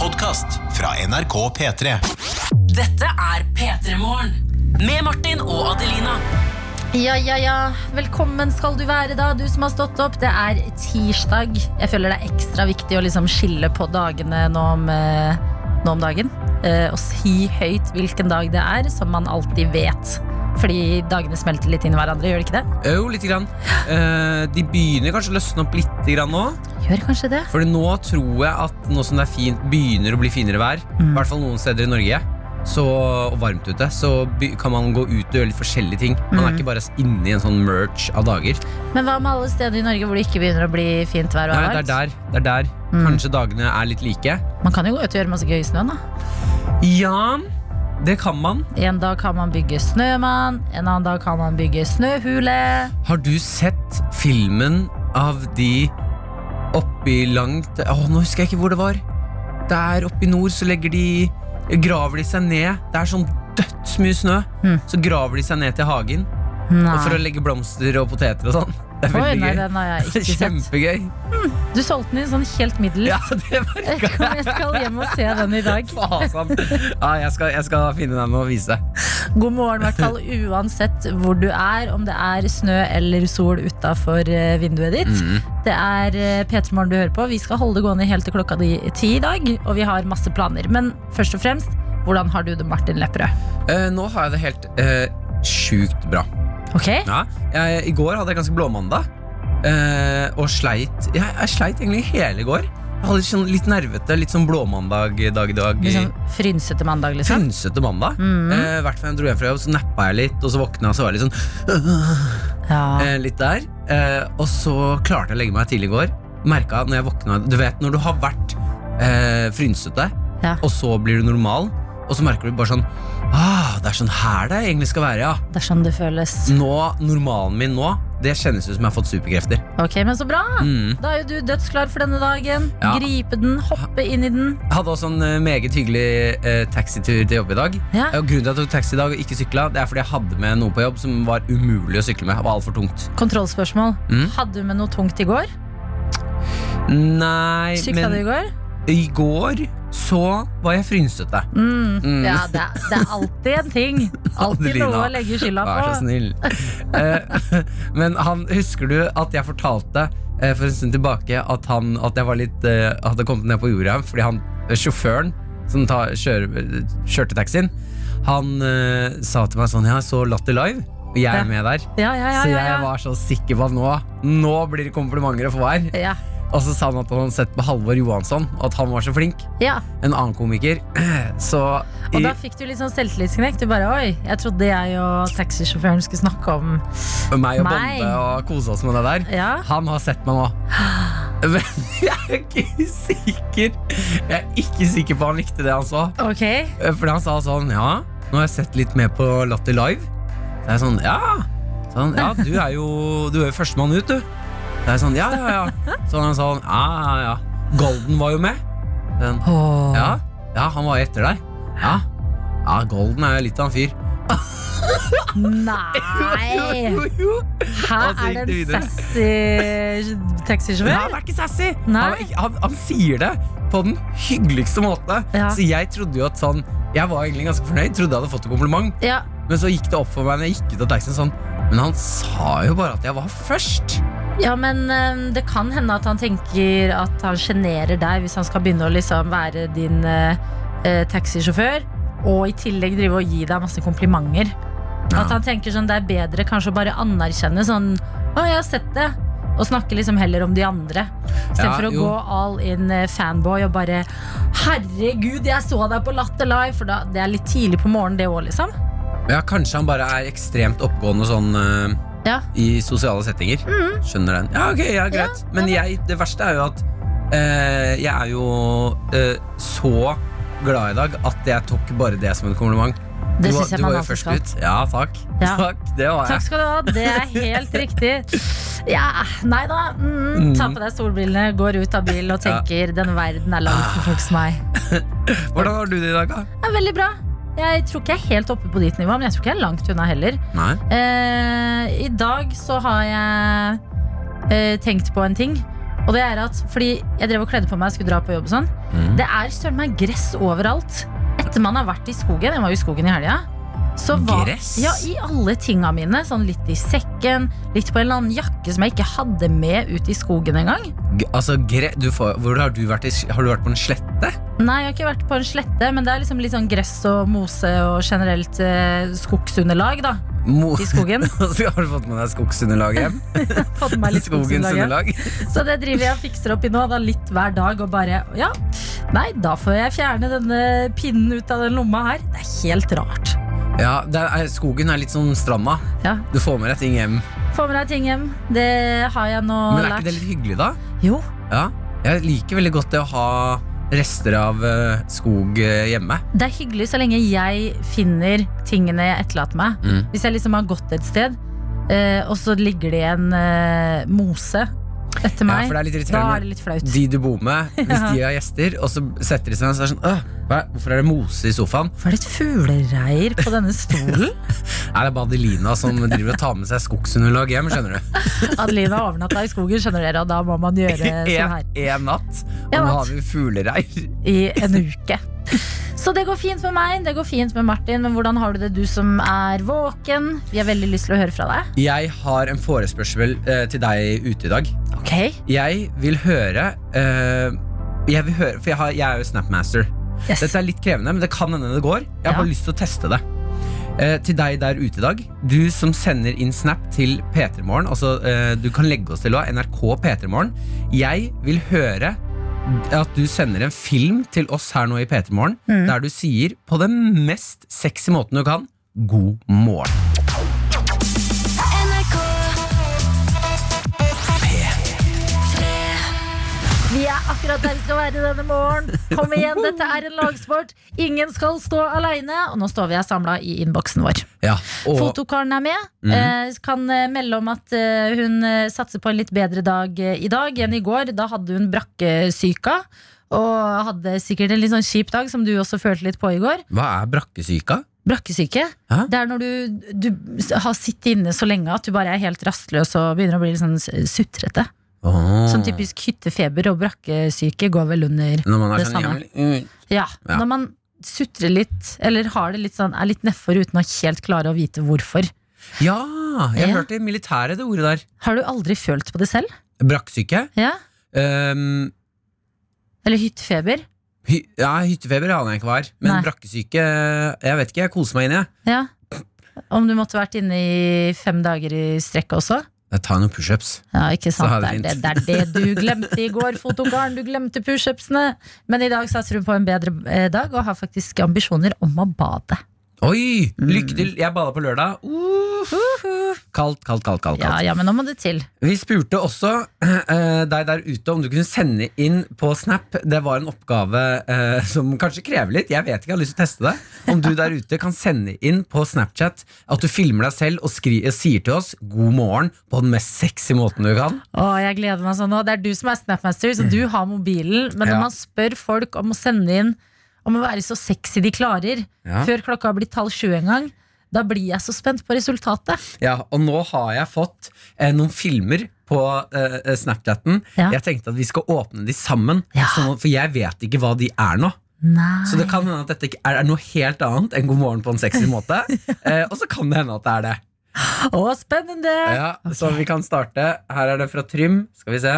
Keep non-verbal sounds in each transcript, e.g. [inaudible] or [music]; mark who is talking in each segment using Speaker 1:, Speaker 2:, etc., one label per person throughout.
Speaker 1: podkast fra NRK P3.
Speaker 2: Dette er P3 Morgen. Med Martin og Adelina.
Speaker 3: Ja, ja, ja. Velkommen skal du være, da, du som har stått opp. Det er tirsdag. Jeg føler det er ekstra viktig å liksom skille på dagene nå om, eh, nå om dagen. Eh, og si høyt hvilken dag det er, som man alltid vet. Fordi dagene smelter litt inn i hverandre, gjør de ikke det?
Speaker 4: Jo, lite grann. Eh, de begynner kanskje å løsne opp litt grann nå.
Speaker 3: Gjør kanskje det.
Speaker 4: For nå tror jeg at nå som det er fint, begynner å bli finere vær, i hvert fall noen steder i Norge, så, og varmt ute, så by- kan man gå ut og gjøre litt forskjellige ting. Man er ikke bare inne i en sånn merch av dager.
Speaker 3: Men hva med alle steder i Norge hvor det ikke begynner å bli fint vær og
Speaker 4: Nei,
Speaker 3: varmt?
Speaker 4: det er der. Det er der.
Speaker 3: Mm.
Speaker 4: Kanskje dagene er litt like.
Speaker 3: Man kan jo gå ut og gjøre masse gøy i snøen, da.
Speaker 4: Ja, det kan man.
Speaker 3: En dag kan man bygge snømann, en annen dag kan man bygge snøhule.
Speaker 4: Har du sett filmen av de oppi langt Åh, nå husker jeg ikke hvor det var. Der oppe i nord så legger de Graver de seg ned. Det er sånn dødsmye snø.
Speaker 3: Mm.
Speaker 4: Så graver de seg ned til hagen
Speaker 3: Nei.
Speaker 4: og for å legge blomster og poteter og sånn. Det
Speaker 3: Ah.
Speaker 4: er
Speaker 3: Oi,
Speaker 4: veldig
Speaker 3: nei,
Speaker 4: gøy.
Speaker 3: den har jeg
Speaker 4: Det
Speaker 3: ikke
Speaker 4: [laughs] er
Speaker 3: sett.
Speaker 4: Kjempegøy.
Speaker 3: Du solgte den i sånn helt middels.
Speaker 4: Ja, [laughs] det var
Speaker 3: [laughs] Jeg tror jeg skal hjem og se den i dag.
Speaker 4: fasan. Ja, jeg skal, jeg skal finne den og vise deg.
Speaker 3: God morgen, i hvert fall uansett hvor du er. Om det er snø eller sol utafor eh, vinduet ditt.
Speaker 4: Mm.
Speaker 3: Det er eh, P3 Morgen du hører på. Vi skal holde det gående helt til klokka di- ti i dag. Og vi har masse planer. Men først og fremst, hvordan har du det, Martin Lepperød?
Speaker 4: Eh, nå har jeg det helt eh, sjukt bra.
Speaker 3: Ok?
Speaker 4: Ja, jeg, I går hadde jeg ganske blåmandag. eh, og sleit jeg, jeg sleit egentlig hele i går. Jeg hadde sånn litt nervete, litt sånn blåmandag dag i dag.
Speaker 3: Liksom frynsete mandag, liksom.
Speaker 4: Frynsete mandag.
Speaker 3: Mhm.
Speaker 4: Eh, hvert fall jeg dro hjem fra jobb, så nappa jeg litt, og så våkna jeg, så var jeg litt sånn
Speaker 3: Ja.
Speaker 4: eh, Litt der. Eh, og så klarte jeg å legge meg tidlig i går. Merka når jeg våkna Du vet når du har vært eh, frynsete,
Speaker 3: Ja.
Speaker 4: og så blir du normal, og så merker du bare sånn ah, Det er sånn her det egentlig skal være, ja.
Speaker 3: Det er sånn det føles.
Speaker 4: Nå, Normalen min nå, det kjennes ut som jeg har fått superkrefter.
Speaker 3: Ok, men så bra!
Speaker 4: Mm.
Speaker 3: Da er jo du dødsklar for denne dagen.
Speaker 4: Ja.
Speaker 3: Gripe den, hoppe inn i den.
Speaker 4: Jeg hadde også en eh, meget hyggelig eh, taxitur til jobb i dag.
Speaker 3: Ja.
Speaker 4: Og grunnen til at jeg tok taxi i dag og ikke sykla, Det er fordi jeg hadde med noe på jobb som var umulig å sykle med. Det var alt for tungt.
Speaker 3: Kontrollspørsmål.
Speaker 4: Mm.
Speaker 3: Hadde du med noe tungt i går?
Speaker 4: Nei,
Speaker 3: Sykla du
Speaker 4: men
Speaker 3: i går?
Speaker 4: i går så var jeg frynsete.
Speaker 3: Mm.
Speaker 4: Mm.
Speaker 3: Ja, det er, det er alltid en
Speaker 4: [laughs]
Speaker 3: ting. Alltid
Speaker 4: Adelina,
Speaker 3: noe å legge skylda
Speaker 4: Vær så
Speaker 3: på. [laughs]
Speaker 4: snill. Eh, [laughs] men han, husker du at jeg fortalte eh, for en stund tilbake at, han, at jeg var litt eh, hadde kommet ned på jorda fordi han, eh, sjåføren som tar, kjør, kjørte taxien, han eh, sa til meg sånn Ja, så Latter Live, og jeg
Speaker 3: Ja.
Speaker 4: er med der.
Speaker 3: Ja, ja, ja,
Speaker 4: Så
Speaker 3: ja,
Speaker 4: jeg
Speaker 3: ja.
Speaker 4: var så sikker på at nå, nå blir det komplimenter å få her.
Speaker 3: Ja,
Speaker 4: Og så sa han at han hadde sett på Halvor Johansson, og at han var så flink.
Speaker 3: ja.
Speaker 4: En annen komiker. [clears throat] Så
Speaker 3: Og
Speaker 4: i-
Speaker 3: da fikk du litt sånn selvtillitsknekk. Du bare oi, jeg trodde jeg og taxisjåføren skulle snakke om
Speaker 4: meg
Speaker 3: meg.
Speaker 4: og Bonde og kose oss med det der.
Speaker 3: Ja.
Speaker 4: Han har sett meg nå.
Speaker 3: [gasps]
Speaker 4: Men jeg er ikke sikker Jeg er ikke sikker på han likte det han så.
Speaker 3: Ok.
Speaker 4: Fordi han sa sånn Ja, nå har jeg sett litt mer på Latter Live. Det er sånn Ja, sånn, ja du er jo Du er jo førstemann ut, du. Det er sånn Ja, ja, ja. Så han sa sånn Ja, ja, ja. Golden var jo med. Sånn,
Speaker 3: Åh.
Speaker 4: ja, ja, han var etter deg. Ja, ja Golden er jo litt av en fyr. [laughs]
Speaker 3: Nei!
Speaker 4: Jo, jo.
Speaker 3: Her
Speaker 4: Og så
Speaker 3: er
Speaker 4: gikk
Speaker 3: det
Speaker 4: det videre.
Speaker 3: en sassy
Speaker 4: Nei,
Speaker 3: taxisjåfør.
Speaker 4: han er ikke sassy!
Speaker 3: Nei.
Speaker 4: Han, er ikke- han, han sier det på den hyggeligste måten.
Speaker 3: Ja.
Speaker 4: Så jeg trodde jo at sånn Jeg var egentlig ganske fornøyd, trodde jeg hadde fått en kompliment.
Speaker 3: Ja.
Speaker 4: Men så gikk det opp for meg når jeg gikk ut av taxien sånn Men han sa jo bare at jeg var først.
Speaker 3: Ja, men eh, det kan hende at han tenker at han sjenerer deg hvis han skal begynne å liksom være din eh, eh, taxisjåfør, og i tillegg drive og gi deg masse komplimenter.
Speaker 4: Ja.
Speaker 3: At han tenker sånn, det er bedre kanskje å bare anerkjenne sånn Å, jeg har sett det. Og snakke liksom heller om de andre.
Speaker 4: Ja,
Speaker 3: Istedenfor for å
Speaker 4: jo.
Speaker 3: gå all in eh, fanboy og bare Herregud, jeg så deg på Latter Live! For da, det er litt tidlig på morgenen, det òg, liksom.
Speaker 4: Ja, kanskje han bare er ekstremt oppgående sånn eh,
Speaker 3: Ja.
Speaker 4: i sosiale settinger.
Speaker 3: Mhm.
Speaker 4: Skjønner den. Ja, ok, ja, greit. Men jeg, det verste er jo at eh, jeg er jo eh, så glad i dag at jeg tok bare det som en kompliment.
Speaker 3: Det
Speaker 4: du var,
Speaker 3: synes jeg
Speaker 4: du
Speaker 3: man
Speaker 4: var jo
Speaker 3: alltid
Speaker 4: først
Speaker 3: skal.
Speaker 4: ut. Ja, takk.
Speaker 3: Ja.
Speaker 4: Takk, det var
Speaker 3: Takk
Speaker 4: jeg.
Speaker 3: skal du ha, det er helt riktig. Ja, nei da. Mm, ta på deg solbrillene, går ut av bilen og tenker denne verden er langt for folk som meg.
Speaker 4: Hvordan har du det i dag, da?
Speaker 3: Det er veldig bra. Jeg tror ikke jeg er helt oppe på ditt nivå, men jeg tror ikke jeg er langt unna heller.
Speaker 4: Nei.
Speaker 3: Eh, I dag så har jeg eh, tenkt på en ting. Og det er at, fordi jeg drev og kledde på meg og skulle dra på jobb og sånn. Det er søren meg gress overalt. Etter man har vært i skogen, jeg var jo i skogen i helga. Så var,
Speaker 5: Gress?
Speaker 3: Ja, I alle tinga mine. Sånn litt i sekken, litt på en eller annen jakke som jeg ikke hadde med ut i skogen engang.
Speaker 4: G altså, gre du får, hvor har, du vært i, har du vært på en slette?
Speaker 3: Nei, jeg har ikke vært på en slette, men det er liksom litt sånn gress og mose og generelt eh, skogsunderlag, da.
Speaker 4: Mo
Speaker 3: I
Speaker 4: [laughs]
Speaker 3: skogen.
Speaker 4: Så har du fått med deg skogsunderlag hjem?
Speaker 3: Fått med meg litt
Speaker 4: Skogens
Speaker 3: skogsunderlag. ja.
Speaker 4: underlag?
Speaker 3: Så det driver jeg og fikser opp i nå, da litt hver dag og bare Ja, nei, da får jeg fjerne denne pinnen ut av den lomma her. Det er helt rart.
Speaker 4: Ja, det er, skogen er litt som stranda.
Speaker 3: Ja.
Speaker 4: Du får med deg ting hjem.
Speaker 3: Få med deg ting hjem. Det har jeg nå
Speaker 4: Men er
Speaker 3: lært.
Speaker 4: ikke det litt hyggelig, da?
Speaker 3: Jo,
Speaker 4: Ja. Jeg liker veldig godt det å ha rester av eh, skog eh, hjemme.
Speaker 3: det er hyggelig så lenge jeg finner tingene jeg etterlater meg. Hvis jeg liksom har gått et sted, eh, og så ligger det en eh, mose etter
Speaker 4: Ja,
Speaker 3: meg,
Speaker 4: for det er litt
Speaker 3: da
Speaker 4: irriterende.
Speaker 3: er det litt flaut.
Speaker 4: De du bor
Speaker 3: [laughs]
Speaker 4: med, hvis de har gjester, og så setter de seg ned, så er det sånn «Åh, hva, er- Hvorfor er det mose i sofaen?
Speaker 3: Var det et fuglereir på denne
Speaker 4: [laughs]
Speaker 3: stolen?
Speaker 4: Er det er Badelina som driver og tar med seg skogsunderlag hjem, skjønner
Speaker 3: [laughs]
Speaker 4: du?
Speaker 3: Adeline har overnatta i skogen, skjønner dere, og da må man
Speaker 4: [laughs]
Speaker 3: gjøre sånn her.
Speaker 4: En, en natt, og
Speaker 3: En
Speaker 4: nå
Speaker 3: natt.
Speaker 4: har vi fuglereir.
Speaker 3: i en uke. Så det går fint med meg, det går fint med Martin, men hvordan har du det, du som er våken? Vi har veldig lyst til å høre fra deg.
Speaker 4: Jeg har en forespørsel eh, til deg ute i dag.
Speaker 3: Ok,
Speaker 4: Jeg vil høre eh, Jeg vil høre, For jeg, har, jeg er jo Snapmaster.
Speaker 3: yes.
Speaker 4: Dette er litt krevende, men det kan hende det går. Jeg har
Speaker 3: Ja.
Speaker 4: bare lyst til å teste det. Eh, til deg der ute i dag, du som sender inn snap til P3morgen. Altså, eh, du kan legge oss til også, NRK P3morgen. Jeg vil høre at du sender en film til oss her nå i P3morgen,
Speaker 3: Mm.
Speaker 4: der du sier på den mest sexy måten du kan, god morgen.
Speaker 3: Vi er akkurat der vi skal være denne morgen. Kom igjen, dette er en lagsport. Ingen skal stå aleine. Og nå står vi her samla i innboksen vår.
Speaker 4: Ja, og Mhm.
Speaker 3: Fotokaren er med. Eh, kan eh, melde om at eh, hun eh, satser på en litt bedre dag eh, i dag enn i går. Da hadde hun brakkesyka. Og hadde sikkert en litt sånn kjip dag, som du også følte litt på i går.
Speaker 4: hva er brakkesyka?
Speaker 3: Brakkesyke?
Speaker 4: Hæ?
Speaker 3: Det er når du, du s- har sittet inne så lenge at du bare er helt rastløs og begynner å bli litt sånn s- sutrete.
Speaker 4: Åh.
Speaker 3: Sånn typisk hyttefeber og brakkesyke går vel under
Speaker 4: Når man er
Speaker 3: det
Speaker 4: sånn,
Speaker 3: samme.
Speaker 4: ja, men,
Speaker 3: Ja,
Speaker 4: Ja.
Speaker 3: når man sutrer litt, eller har det litt sånn, er litt nedfor uten å helt klare å vite hvorfor.
Speaker 4: mm, ja, jeg
Speaker 3: Ja.
Speaker 4: hørte militæret det ordet der.
Speaker 3: Har du aldri følt på det selv?
Speaker 4: Brakksyke.
Speaker 3: Ja?
Speaker 4: Um,
Speaker 3: Eller hyttefeber?
Speaker 4: hy ja, hyttefeber aner jeg ikke hva er, men
Speaker 3: Nei.
Speaker 4: brakkesyke Jeg vet ikke, jeg koser meg inni. jeg.
Speaker 3: Ja. Om du måtte vært inne i fem dager i strekk også?
Speaker 4: Jeg tar noen pushups.
Speaker 3: Ja, ikke sant.
Speaker 4: har
Speaker 3: Det
Speaker 4: vi
Speaker 3: er det, det er det du glemte i går, fotogaren. Du glemte pushupsene. Men i dag satser du på en bedre eh, dag og har faktisk ambisjoner om å bade.
Speaker 4: Oi!
Speaker 3: Mm.
Speaker 4: Lykke til. Jeg bada på lørdag. Uh, Kaldt, kaldt, kaldt. kaldt, kaldt.
Speaker 3: Ja, ja, men nå må det til.
Speaker 4: Vi spurte også eh, deg der ute om du kunne sende inn på Snap. Det var en oppgave eh, som kanskje krever litt. Jeg vet ikke, jeg har lyst til å teste det. Om du der ute kan sende inn på Snapchat at du filmer deg selv og skri sier til oss 'god morgen' på den mest sexy måten du kan.
Speaker 3: Å, jeg gleder meg sånn nå. Det er du som er Snapmaster, så du har mobilen. Men når
Speaker 4: Ja.
Speaker 3: man spør folk om å sende inn om å være så sexy de klarer,
Speaker 4: Ja.
Speaker 3: før klokka har blitt halv sju en gang, da blir jeg så spent på resultatet.
Speaker 4: Ja, og nå har jeg fått eh, noen filmer på eh, eh, Snapchatten.
Speaker 3: Ja.
Speaker 4: Jeg tenkte at vi skal åpne de sammen,
Speaker 3: Ja.
Speaker 4: sånn at, for jeg vet ikke hva de er nå.
Speaker 3: Nei.
Speaker 4: Så det kan hende at dette ikke er, er noe helt annet enn God morgen på en sexy
Speaker 3: [laughs]
Speaker 4: måte. eh, og så kan det hende at det er det.
Speaker 3: Å, spennende!
Speaker 4: Ja, Så vi kan starte. Her er det fra Trym. Skal vi se.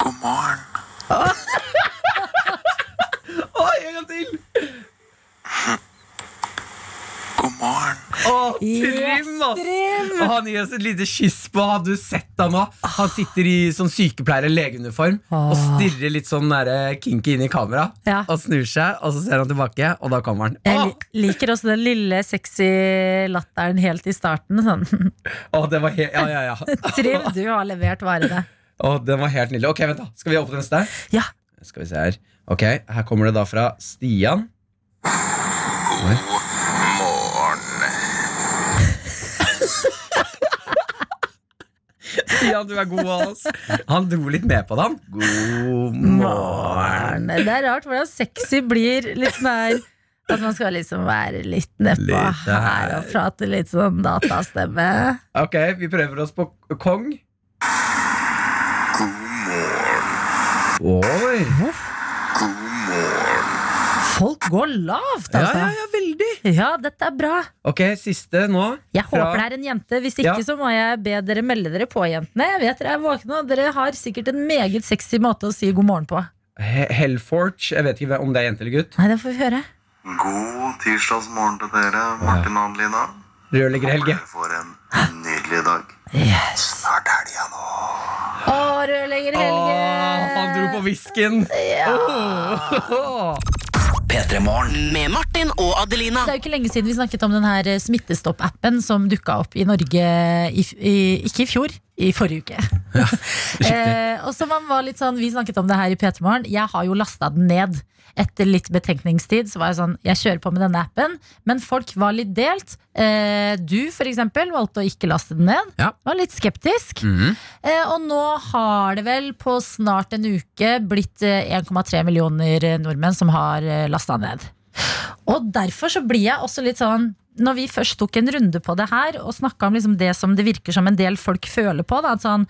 Speaker 1: God morgen.
Speaker 4: [laughs] Oi, en gang til!
Speaker 1: God morgen.
Speaker 4: Å, Trym,
Speaker 3: Yes,
Speaker 4: ass!
Speaker 3: Trym!
Speaker 4: Og han gir oss et lite kyss på. Har du sett han nå? Han sitter i sånn sykepleier- eller legeuniform og
Speaker 3: Åh.
Speaker 4: stirrer litt sånn der, kinky inn i kamera.
Speaker 3: Ja.
Speaker 4: Og snur seg, og så ser han tilbake, og da kommer han.
Speaker 3: Jeg
Speaker 4: Åh,
Speaker 3: li- liker også den lille sexy latteren helt i starten. Sånn.
Speaker 4: [laughs] åh, det var helt, ja, ja,
Speaker 3: [laughs]
Speaker 4: ja.
Speaker 3: Triv, du har levert varene.
Speaker 4: Åh, den var helt nydelig. Ok, vent da, Skal vi opp til neste?
Speaker 3: Ja.
Speaker 4: Skal vi se her. Ok, Her kommer det da fra Stian. [laughs] Stian, du er god av oss. Han dro litt med på det, han. God morgen.
Speaker 3: Det er rart hvordan sexy blir litt sånn her At man skal liksom være litt nedpå
Speaker 4: Litt
Speaker 3: her
Speaker 4: her.
Speaker 3: og prate litt sånn datastemme.
Speaker 4: Ok, vi prøver oss på k- Kong. Oi!
Speaker 3: Folk går lavt,
Speaker 4: Ja, ja,
Speaker 3: altså.
Speaker 4: ja, veldig!
Speaker 3: Ja, dette er bra.
Speaker 4: Ok, siste nå.
Speaker 3: Jeg
Speaker 4: Fra-
Speaker 3: håper det er en jente. Hvis ikke
Speaker 4: Ja.
Speaker 3: så må jeg be dere melde dere på, jentene. Jeg vet dere er våkne, og dere har sikkert en meget sexy måte å si god morgen på.
Speaker 4: He- Hellforge. Jeg vet ikke om det er jente eller gutt.
Speaker 3: Nei, det får vi høre.
Speaker 5: God tirsdagsmorgen til dere, Martin og Ann-Lina.
Speaker 4: Rørlegger Helge.
Speaker 5: Dere får en nydelig dag.
Speaker 3: Yes.
Speaker 5: Snart helga nå.
Speaker 3: Å, rørlegger Helge!
Speaker 4: Åh, han dro på whiskyen! Åh.
Speaker 2: Med Martin og Adelina.
Speaker 3: Det er jo ikke lenge siden vi snakket om den her eh, smittestopp-appen som dukka opp i Norge i, f- i, ikke i fjor, i forrige uke. [laughs] eh, og så man var litt sånn, Vi snakket om det her i P3 Morgen. Jeg har jo lasta den ned. Etter litt betenkningstid så var jeg sånn Jeg kjører på med denne appen. Men folk var litt delt. Eh, du, for eksempel, valgte å ikke laste den ned.
Speaker 4: Ja.
Speaker 3: Var litt skeptisk.
Speaker 4: Mhm.
Speaker 3: Eh, og nå har det vel på snart en uke blitt eh, 1,3 millioner eh, nordmenn som har eh, lasta ned. Og derfor så blir jeg også litt sånn Når vi først tok en runde på det her og snakka om liksom det som det virker som en del folk føler på, da, at sånn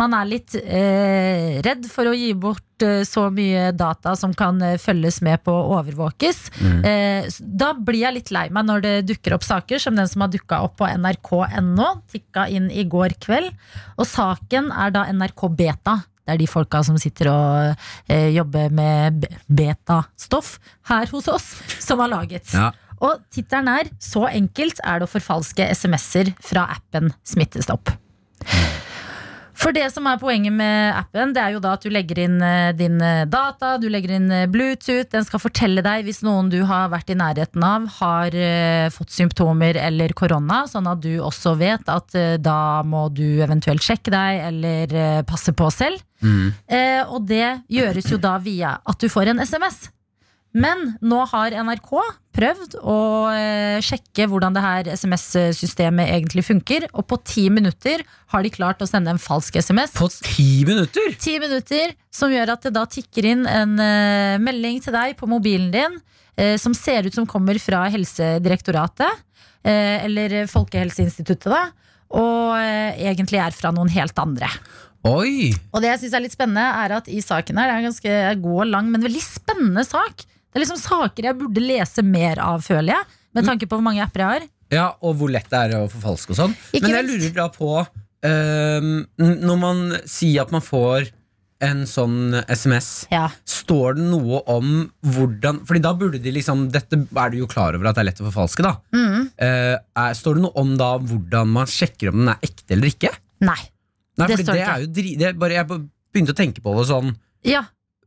Speaker 3: man er litt eh, redd for å gi bort eh, så mye data som kan eh, følges med på og overvåkes. Eh, s- da blir jeg litt lei meg når det dukker opp saker som den som har dukka opp på nrk.no, tikka inn i går kveld. Og saken er da NRK Beta. Det er de folka som sitter og eh, jobber med b- beta-stoff her hos oss, som har laget.
Speaker 4: Ja.
Speaker 3: Og tittelen er 'Så enkelt er det å forfalske SMS-er fra appen Smittestopp'. For det som er poenget med appen, det er jo da at du legger inn eh, din eh, data, du legger inn eh, Bluetooth, den skal fortelle deg hvis noen du har vært i nærheten av har eh, fått symptomer eller korona, sånn at du også vet at eh, da må du eventuelt sjekke deg eller eh, passe på selv. Eh, og det gjøres jo da via at du får en SMS. Men nå har NRK prøvd å eh, sjekke hvordan det her SMS-systemet egentlig funker, og på ti minutter har de klart å sende en falsk SMS.
Speaker 4: På ti minutter!
Speaker 3: Ti minutter som gjør at det da tikker inn en eh, melding til deg på mobilen din eh, som ser ut som kommer fra Helsedirektoratet eh, eller Folkehelseinstituttet, da, og eh, egentlig er fra noen helt andre.
Speaker 4: Oi!
Speaker 3: Og det jeg synes er litt spennende, er at i saken her, det er en ganske god og lang, men veldig spennende sak. Det er liksom saker jeg burde lese mer av, føler jeg. Med tanke på hvor mange apper jeg har.
Speaker 4: Ja, og hvor lett det er å forfalske og sånn.
Speaker 3: Ikke
Speaker 4: Men jeg
Speaker 3: minst.
Speaker 4: lurer da på øhm, n- Når man sier at man får en sånn SMS,
Speaker 3: Ja.
Speaker 4: står det noe om hvordan Fordi da burde de liksom Dette er du jo klar over at det er lett å forfalske, da.
Speaker 3: Mm.
Speaker 4: Eh, er, står det noe om da hvordan man sjekker om den er ekte eller ikke?
Speaker 3: Nei.
Speaker 4: Nei,
Speaker 3: Det
Speaker 4: fordi
Speaker 3: står
Speaker 4: det
Speaker 3: ikke.
Speaker 4: er jo dri, det er bare, Jeg bare begynte å tenke på det sånn
Speaker 3: Ja.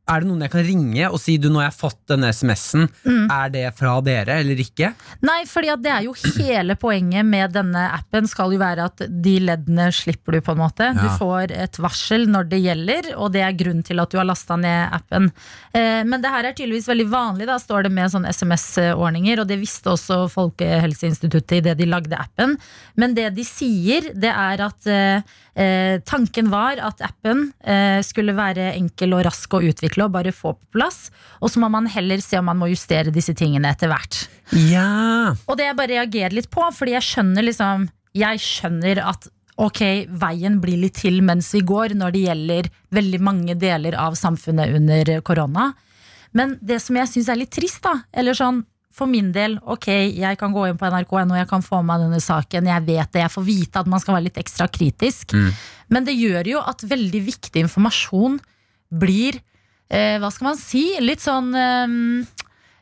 Speaker 4: Er det noen jeg kan ringe og si du, nå har jeg fått denne SMS-en,
Speaker 3: Mm.
Speaker 4: er det fra dere eller ikke?
Speaker 3: Nei, fordi at det er jo hele poenget med denne appen skal jo være at de leddene slipper du, på en måte. Du
Speaker 4: Ja.
Speaker 3: får et varsel når det gjelder, og det er grunnen til at du har lasta ned appen. Eh, men det her er tydeligvis veldig vanlig, da står det med sånn SMS-ordninger, og det visste også Folkehelseinstituttet idet de lagde appen. Men det de sier, det er at eh, eh, tanken var at appen eh, skulle være enkel og rask å utvikle og bare få på plass, og så må man heller se om man må justere disse tingene etter hvert.
Speaker 4: Ja!
Speaker 3: Og det jeg bare reagerer litt på, fordi jeg skjønner liksom Jeg skjønner at ok, veien blir litt til mens vi går når det gjelder veldig mange deler av samfunnet under korona. Men det som jeg syns er litt trist, da, eller sånn for min del, ok, jeg kan gå inn på nrk.no, jeg kan få med denne saken, jeg vet det, jeg får vite at man skal være litt ekstra kritisk. Men det gjør jo at veldig viktig informasjon blir, eh, hva skal man si, litt sånn eh,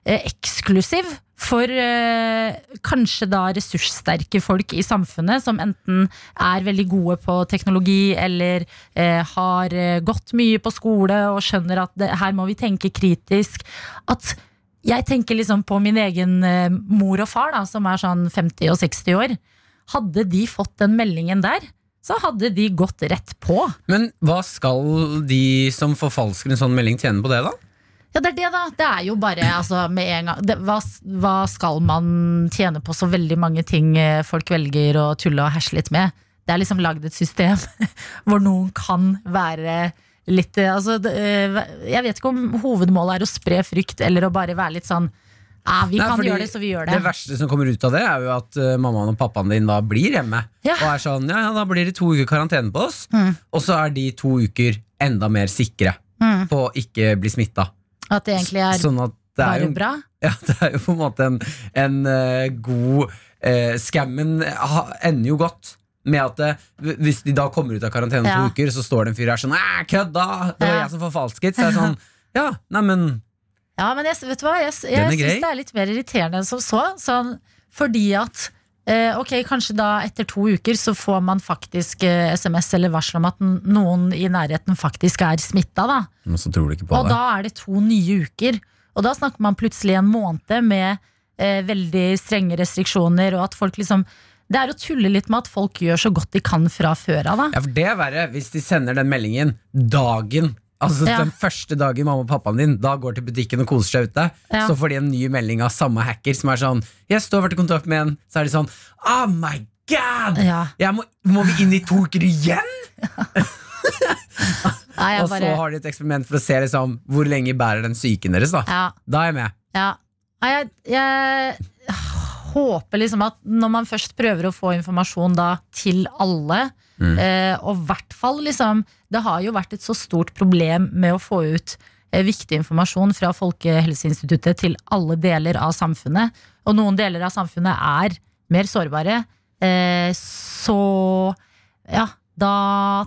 Speaker 3: eh, eksklusiv for eh, kanskje da ressurssterke folk i samfunnet, som enten er veldig gode på teknologi eller eh, har eh, gått mye på skole og skjønner at det, her må vi tenke kritisk. At jeg tenker liksom på min egen eh, mor og far, da, som er sånn 50 og 60 år. Hadde de fått den meldingen der, så hadde de gått rett på.
Speaker 4: Men hva skal de som forfalsker en sånn melding tjene på det, da?
Speaker 3: Ja, det er det, da. Det er jo bare altså, med en gang det, hva, hva skal man tjene på så veldig mange ting eh, folk velger å tulle og herse litt med? Det er liksom lagd et system [laughs] hvor noen kan være litt eh, altså, det, eh, Jeg vet ikke om hovedmålet er å spre frykt eller å bare være litt sånn «Ah, Vi
Speaker 4: Nei,
Speaker 3: kan
Speaker 4: fordi
Speaker 3: gjøre det, så vi gjør
Speaker 4: Det
Speaker 3: det.
Speaker 4: verste som kommer ut av det, er jo at eh, mammaen og pappaen din da blir hjemme.
Speaker 3: Ja.
Speaker 4: Og er sånn, ja, ja, da blir det to uker karantene på oss, og så er de to uker enda mer sikre.
Speaker 3: Mm.
Speaker 4: på å ikke bli smitta.
Speaker 3: At det egentlig er
Speaker 4: Sånn at det er
Speaker 3: bare
Speaker 4: jo
Speaker 3: bra?
Speaker 4: [laughs] ja, det er jo på en måte en, en eh, god uh, Skammen ha, ender jo godt med at eh, hv- hvis de da kommer ut av karantene
Speaker 3: Ja.
Speaker 4: to uker, så står det en fyr her sånn «Æ, Kødda! Det var
Speaker 3: Ja.
Speaker 4: jeg som forfalsket. Så er det
Speaker 3: [laughs]
Speaker 4: sånn Ja, neimen
Speaker 3: Ja, men jeg, vet du hva? Jeg,
Speaker 4: Den er
Speaker 3: jeg syns
Speaker 4: grei.
Speaker 3: det er litt mer irriterende enn som så. Sånn, fordi at eh, Ok, kanskje da etter to uker så får man faktisk eh, SMS eller varsel om at n- noen i nærheten faktisk er smitta, da.
Speaker 4: Men så tror du ikke
Speaker 3: Og da er det to nye uker. Og da snakker man plutselig en måned med eh, veldig strenge restriksjoner, og at folk liksom Det er å tulle litt med at folk gjør så godt de kan fra før av, da.
Speaker 4: Ja, for det er verre hvis de sender den meldingen dagen. Altså
Speaker 3: Ja.
Speaker 4: Den første dagen mamma og pappaen din Da går til butikken og koser seg ute.
Speaker 3: Ja.
Speaker 4: Så får de en ny melding av samme hacker som er sånn Jeg står og har vært i kontakt med en. Så er de sånn Oh my god!
Speaker 3: Ja.
Speaker 4: Jeg må, må vi inn i to uker igjen?!
Speaker 3: Nei, jeg
Speaker 4: Og så
Speaker 3: bare,
Speaker 4: har de et eksperiment for å se liksom, hvor lenge bærer den psyken deres. Da
Speaker 3: ja.
Speaker 4: Da er jeg med.
Speaker 3: Ja. Nei, jeg, jeg håper liksom at når man først prøver å få informasjon da til alle, eh, og i hvert fall liksom Det har jo vært et så stort problem med å få ut eh, viktig informasjon fra Folkehelseinstituttet til alle deler av samfunnet, og noen deler av samfunnet er mer sårbare, eh, så ja, da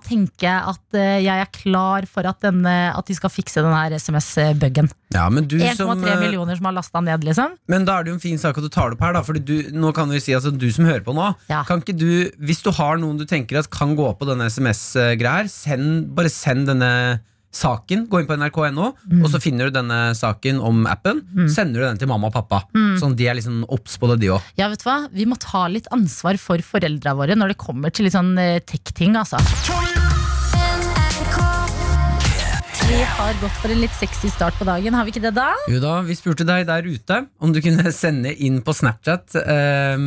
Speaker 3: tenker jeg at eh, jeg er klar for at, denne, at de skal fikse denne SMS-buggen.
Speaker 4: Ja, men, du som,
Speaker 3: 1,3
Speaker 4: eh,
Speaker 3: millioner som har lasta ned, liksom.
Speaker 4: men da er det jo en fin sak at du tar det opp her. Da, fordi du, nå kan vi si altså, du som hører på nå,
Speaker 3: Ja.
Speaker 4: kan ikke du, hvis du har noen du tenker at kan gå på denne SMS-greia her, send, bare send denne saken. Gå inn på nrk.no, og så finner du denne saken om appen. Sender du den til mamma og pappa. Sånn de er liksom obs på det, de òg.
Speaker 3: Ja, vet du hva? Vi må ta litt ansvar for foreldra våre når det kommer til litt sånn eh, tech-ting, altså. Vi har gått for en litt sexy start på dagen, har vi ikke det da?
Speaker 4: Jo da, Vi spurte deg der ute om du kunne [laughs] sende inn på Snapchat eh,